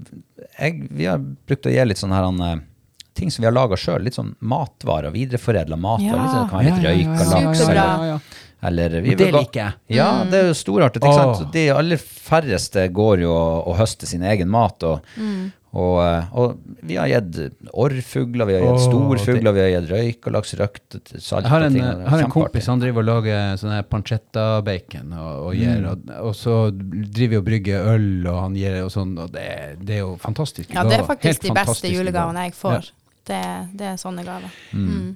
[SPEAKER 3] jeg, vi har brukt å gi litt sånne her, han, eh, ting som vi har laga sjøl. Litt sånn matvarer, videreforedla matvarer.
[SPEAKER 1] Ja.
[SPEAKER 3] Litt sånn, det kan være litt røyk og laks.
[SPEAKER 1] Superbra.
[SPEAKER 3] eller- Eller, vi,
[SPEAKER 2] Og det liker jeg. Mm.
[SPEAKER 3] Ja, det er jo storartet. Ikke
[SPEAKER 2] Åh.
[SPEAKER 3] sant? De aller færreste går jo og, og høster sin egen mat. Og,
[SPEAKER 2] Mm.
[SPEAKER 3] og, eh, og vi har gitt orrfugler, vi har gitt
[SPEAKER 2] Åh,
[SPEAKER 3] storfugler, vi har gitt røyk og laks røkt, salt
[SPEAKER 2] Jeg har
[SPEAKER 3] og
[SPEAKER 2] en,
[SPEAKER 3] ting. og det er
[SPEAKER 2] jeg har en kompis
[SPEAKER 3] kjempeartig.
[SPEAKER 2] han driver og lager sånne her pancetta-bacon og, og, gir, og, og så driver vi og brygger øl, og han gir og sånn, og det, det er jo fantastiske
[SPEAKER 1] Ja, det er
[SPEAKER 2] gaver. Helt
[SPEAKER 1] faktisk de beste
[SPEAKER 2] fantastiske gaver.
[SPEAKER 1] julegavene jeg får.
[SPEAKER 2] Ja. Mm.
[SPEAKER 1] Det, det er sånne gaver. Mm.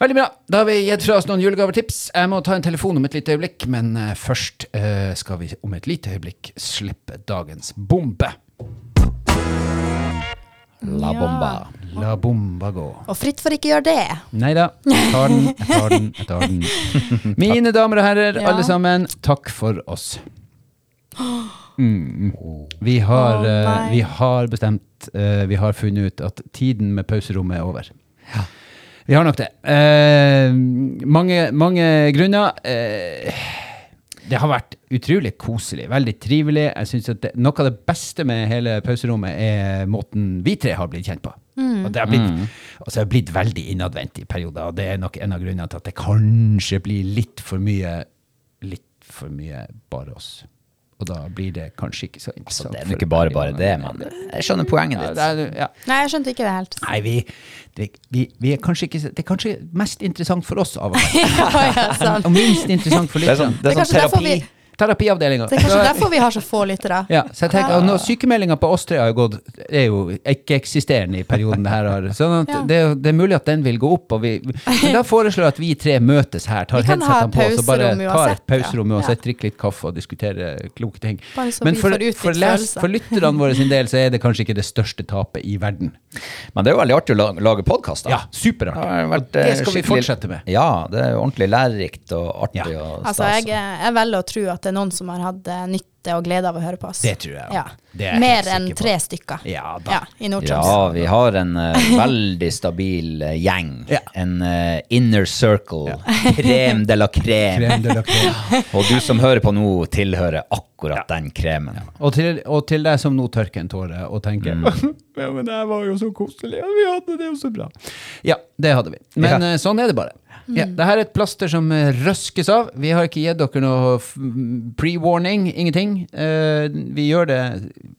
[SPEAKER 2] Veldig bra. Da har vi gitt fra oss noen julegavetips. Jeg må ta en telefon om et lite øyeblikk, men eh, først eh, skal vi om et lite øyeblikk slippe dagens bombe.
[SPEAKER 3] La bomba.
[SPEAKER 2] La bomba gå.
[SPEAKER 1] Og fritt for ikke å gjøre det.
[SPEAKER 2] Nei da. Jeg tar den, jeg tar den, jeg tar den. Mine damer og herrer,
[SPEAKER 1] Ja.
[SPEAKER 2] alle sammen, takk for oss. Mm. Vi,
[SPEAKER 1] Å,
[SPEAKER 2] har, eh,
[SPEAKER 1] nei.
[SPEAKER 2] vi har bestemt, eh, vi har funnet ut at tiden med pauserommet er over. Vi har nok det. Eh, mange, mange grunner. Eh, det har vært utrolig koselig, veldig trivelig. Jeg synes at det, Noe av det beste med hele pauserommet er måten vi tre har blitt kjent på.
[SPEAKER 1] Mm.
[SPEAKER 2] Og det har blitt,
[SPEAKER 3] Mm.
[SPEAKER 2] altså jeg har blitt veldig innadvendt i perioder, og det er nok en av grunnene til at det kanskje blir litt for mye, litt for mye bare oss. Og da blir det kanskje ikke så
[SPEAKER 3] Så
[SPEAKER 2] interessant.
[SPEAKER 3] Altså, det er
[SPEAKER 2] for
[SPEAKER 3] jo ikke bare
[SPEAKER 2] veldig
[SPEAKER 3] bare
[SPEAKER 2] mange.
[SPEAKER 3] det, men jeg skjønner poenget
[SPEAKER 2] Ja,
[SPEAKER 3] ditt.
[SPEAKER 2] det er, ja.
[SPEAKER 1] Nei, jeg skjønte ikke det helt.
[SPEAKER 2] Nei, vi, det, vi, vi er kanskje ikke, det er kanskje mest interessant for oss av og til.
[SPEAKER 1] ja, ja, sant.
[SPEAKER 2] Og minst interessant for
[SPEAKER 3] Det er sånn,
[SPEAKER 2] lytteren.
[SPEAKER 3] det er
[SPEAKER 1] Det er
[SPEAKER 3] sånn
[SPEAKER 1] kanskje derfor
[SPEAKER 3] terapi.
[SPEAKER 1] vi-
[SPEAKER 2] Terapiavdelinga.
[SPEAKER 1] Det er kanskje derfor vi har så få lyttere.
[SPEAKER 2] Ja, så jeg tenker, og når Sykemeldinga på oss tre har jo gått er jo ikke-eksisterende i perioden det her har. Sånn at
[SPEAKER 1] Ja.
[SPEAKER 2] det, er jo- det er mulig at den vil gå opp. Og vi, men da foreslår jeg at vi tre møtes her, tar
[SPEAKER 1] Vi kan ha
[SPEAKER 2] headsetene på oss og bare
[SPEAKER 1] pauserom
[SPEAKER 2] tar et
[SPEAKER 1] uansett, ja.
[SPEAKER 2] pauserom uansett,
[SPEAKER 1] Ja.
[SPEAKER 2] drikker litt kaffe og diskuterer kloke ting.
[SPEAKER 1] Bare så
[SPEAKER 2] Men
[SPEAKER 1] vi
[SPEAKER 2] for,
[SPEAKER 1] får ut litt
[SPEAKER 2] for, les,
[SPEAKER 1] følelser.
[SPEAKER 2] for lytterne våre sin del så er det kanskje ikke det største tapet i verden.
[SPEAKER 3] Men det er jo veldig artig å la- lage podkast, da.
[SPEAKER 2] Ja,
[SPEAKER 3] Det,
[SPEAKER 2] superartig.
[SPEAKER 3] har vært,
[SPEAKER 2] det
[SPEAKER 3] eh,
[SPEAKER 2] skal vi
[SPEAKER 3] skikkelig-
[SPEAKER 2] fortsette med.
[SPEAKER 3] Ja, det er jo ordentlig lærerikt og artig.
[SPEAKER 2] Ja.
[SPEAKER 3] Og
[SPEAKER 1] Altså, jeg,
[SPEAKER 3] stas.
[SPEAKER 1] jeg velger å tro at det er noen som har hatt eh, nytte og glede av å høre på oss.
[SPEAKER 2] Det tror jeg også.
[SPEAKER 1] Ja.
[SPEAKER 2] Det er jeg helt
[SPEAKER 1] Mer
[SPEAKER 2] sikker
[SPEAKER 1] enn
[SPEAKER 2] på.
[SPEAKER 1] tre stykker
[SPEAKER 2] Ja da.
[SPEAKER 1] Ja, i Nord-Troms.
[SPEAKER 3] Ja, vi har en eh, veldig stabil eh, gjeng.
[SPEAKER 2] Ja.
[SPEAKER 3] En eh, inner circle. Krem de la krem.
[SPEAKER 2] Crème de la crème.
[SPEAKER 3] Og du som hører på nå, tilhører akkurat den kremen.
[SPEAKER 2] Og til, og til deg som nå tørker en tåre og tenker Ja, men det her var jo så koselig, og vi hadde det jo så bra. Ja, det hadde vi. Men eh, sånn er det bare. Ja, det her er et plaster som eh, røskes av. Vi har ikke gitt dere noe f- m, pre-warning, ingenting. Eh, vi gjør det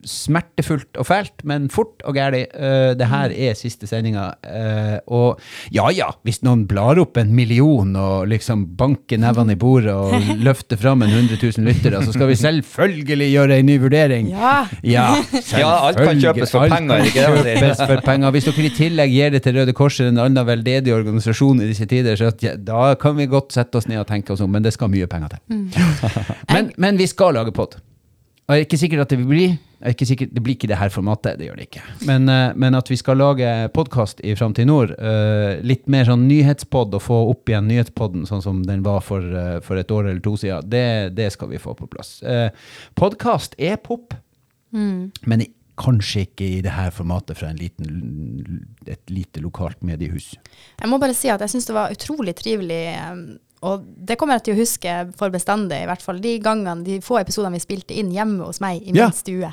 [SPEAKER 2] smertefullt og fælt, men fort og gæli. Eh, det her er siste sendinga. Eh, og ja ja, hvis noen blar opp en million og liksom banker nevene i bordet og løfter fram en 100 000 lyttere, så skal vi selvfølgelig gjøre ei ny vurdering.
[SPEAKER 1] Ja.
[SPEAKER 2] Ja,
[SPEAKER 3] Ja, alt kan
[SPEAKER 2] selvfølgelig.
[SPEAKER 3] kjøpes for
[SPEAKER 2] Alt
[SPEAKER 3] penger,
[SPEAKER 2] kan
[SPEAKER 3] ikke det man sier?
[SPEAKER 2] kjøpes for penger. Hvis dere i tillegg gir det til Røde Kors eller en annen veldedig organisasjon i disse tider, så at, ja, da kan vi godt sette oss ned og tenke oss om, men det skal mye penger til. Men, men vi skal lage pod. Og jeg er ikke sikker at det blir jeg er ikke sikker, Det blir ikke det her formatet, det gjør det ikke. Men, eh, men at vi skal lage podkast i Framtid Nord, eh, litt mer sånn nyhetspod, og få opp igjen nyhetspodden sånn som den var for, eh, for et år eller to siden, det, det skal vi få på plass. Uh, podkast er pop.
[SPEAKER 1] Mm.
[SPEAKER 2] Men i- kanskje ikke i det her formatet fra en liten, et lite lokalt mediehus.
[SPEAKER 1] Jeg må bare si at jeg syns det var utrolig trivelig, eh, og det kommer jeg til å huske for bestandig, i hvert fall de gangene, de få episodene vi spilte inn hjemme hos meg i min
[SPEAKER 2] Ja.
[SPEAKER 1] stue.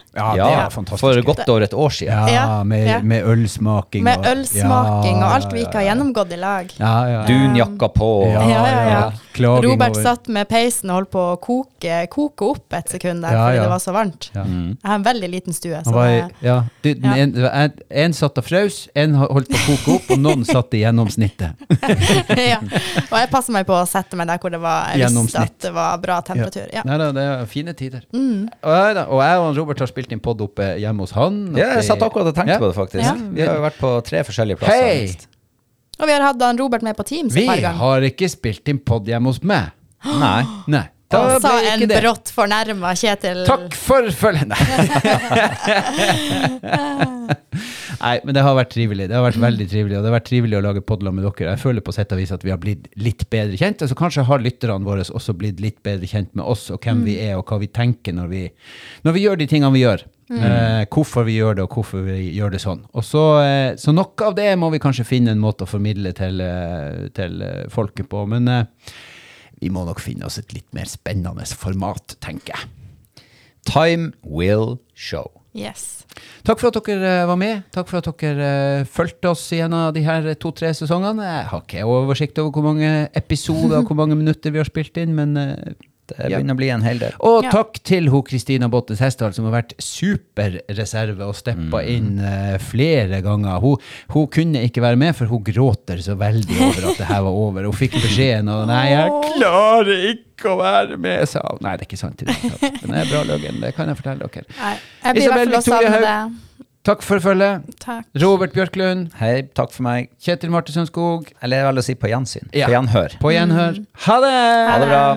[SPEAKER 3] For godt over et år siden.
[SPEAKER 2] Ja,
[SPEAKER 1] Ja,
[SPEAKER 2] med,
[SPEAKER 1] ja.
[SPEAKER 2] med ølsmaking.
[SPEAKER 1] Med
[SPEAKER 2] og-
[SPEAKER 1] ølsmaking
[SPEAKER 2] Ja,
[SPEAKER 1] og alt vi ikke har
[SPEAKER 2] ja,
[SPEAKER 1] gjennomgått i lag.
[SPEAKER 2] Ja, ja, ja.
[SPEAKER 3] Dunjakka på.
[SPEAKER 2] Ja.
[SPEAKER 1] Ja, ja, ja.
[SPEAKER 2] Klaging
[SPEAKER 1] Robert
[SPEAKER 2] over-
[SPEAKER 1] satt med peisen og holdt på å koke, koke opp et sekund der
[SPEAKER 2] Ja,
[SPEAKER 1] fordi
[SPEAKER 2] ja.
[SPEAKER 1] det var så varmt.
[SPEAKER 2] Ja.
[SPEAKER 1] Jeg har en veldig liten stue.
[SPEAKER 2] Han
[SPEAKER 1] Så
[SPEAKER 2] var, i-
[SPEAKER 1] det,
[SPEAKER 2] ja, du, den
[SPEAKER 1] Ja.
[SPEAKER 2] En, det var en, en satt og frøs, en holdt på å koke opp, og noen satt i gjennomsnittet.
[SPEAKER 1] ja. Og jeg passer meg på å sette meg der hvor det var, jeg visste
[SPEAKER 2] Gjennomsnitt.
[SPEAKER 1] at det var bra temperatur. Ja. Mm.
[SPEAKER 2] Nei da, det er fine tider. Og, ja da, og jeg og han Robert har spilt inn pod oppe hjemme hos han.
[SPEAKER 3] Ja, jeg satt akkurat og tenkte
[SPEAKER 2] Ja.
[SPEAKER 3] på det, faktisk.
[SPEAKER 1] Ja.
[SPEAKER 3] Vi har jo vært på tre forskjellige plasser.
[SPEAKER 2] Hei!
[SPEAKER 1] Og vi har hatt han Robert med på Teams
[SPEAKER 2] Vi
[SPEAKER 1] et par ganger.
[SPEAKER 2] har ikke spilt inn pod hjemme hos meg.
[SPEAKER 3] Nei.
[SPEAKER 2] Nei. da
[SPEAKER 1] Han sa
[SPEAKER 2] ble ikke
[SPEAKER 1] en
[SPEAKER 2] det.
[SPEAKER 1] brått fornærma Kjetil.
[SPEAKER 2] Eh, Takk for følgen! Nei, men det har vært trivelig. Det har vært veldig trivelig, og det har vært trivelig å lage podler med dere. Jeg føler på sett og vis at vi har blitt litt bedre kjent. Altså, kanskje har lytterne våre også blitt litt bedre kjent med oss, og hvem vi er, og hva vi tenker når vi, når vi gjør de tingene vi gjør. Eh, hvorfor vi gjør det, og hvorfor vi gjør det sånn. Og så, eh, så noe av det må vi kanskje finne en måte å formidle til, eh, til eh, folket på. Men eh, vi må nok finne oss et litt mer spennende format, tenker jeg.
[SPEAKER 3] Time will show.
[SPEAKER 1] Yes.
[SPEAKER 2] Takk for at dere eh, var med. Takk for at dere eh, fulgte oss gjennom de her to-tre sesongene. Jeg har ikke oversikt over hvor mange episoder og hvor mange minutter vi har spilt inn, men eh,
[SPEAKER 3] Det
[SPEAKER 2] ja.
[SPEAKER 3] begynner å bli en hel del.
[SPEAKER 2] Og
[SPEAKER 1] Ja.
[SPEAKER 2] takk til ho Kristina Bottes Hestdal, som har vært superreserve og steppa inn eh, flere ganger. Hun, hun kunne ikke være med, for hun gråter så veldig over at det her var over. Hun fikk beskjeden og Nei, jeg klarer ikke å være med, sa hun. Nei, det er ikke sant. i det hele tatt. Men det er bra løgn, det kan jeg fortelle dere.
[SPEAKER 1] Nei, jeg blir i
[SPEAKER 2] Isabel
[SPEAKER 1] hvert fall å
[SPEAKER 2] Victoria
[SPEAKER 1] savne
[SPEAKER 2] Haug.
[SPEAKER 1] det.
[SPEAKER 2] Takk for følget.
[SPEAKER 1] Takk.
[SPEAKER 2] Robert Bjørklund.
[SPEAKER 3] Hei, takk for meg.
[SPEAKER 2] Kjetil Martinsen Skog.
[SPEAKER 3] Eller vel å si på gjensyn.
[SPEAKER 2] Ja.
[SPEAKER 3] På gjenhør.
[SPEAKER 2] På gjenhør. Mm. Ha det!
[SPEAKER 3] Ha det bra.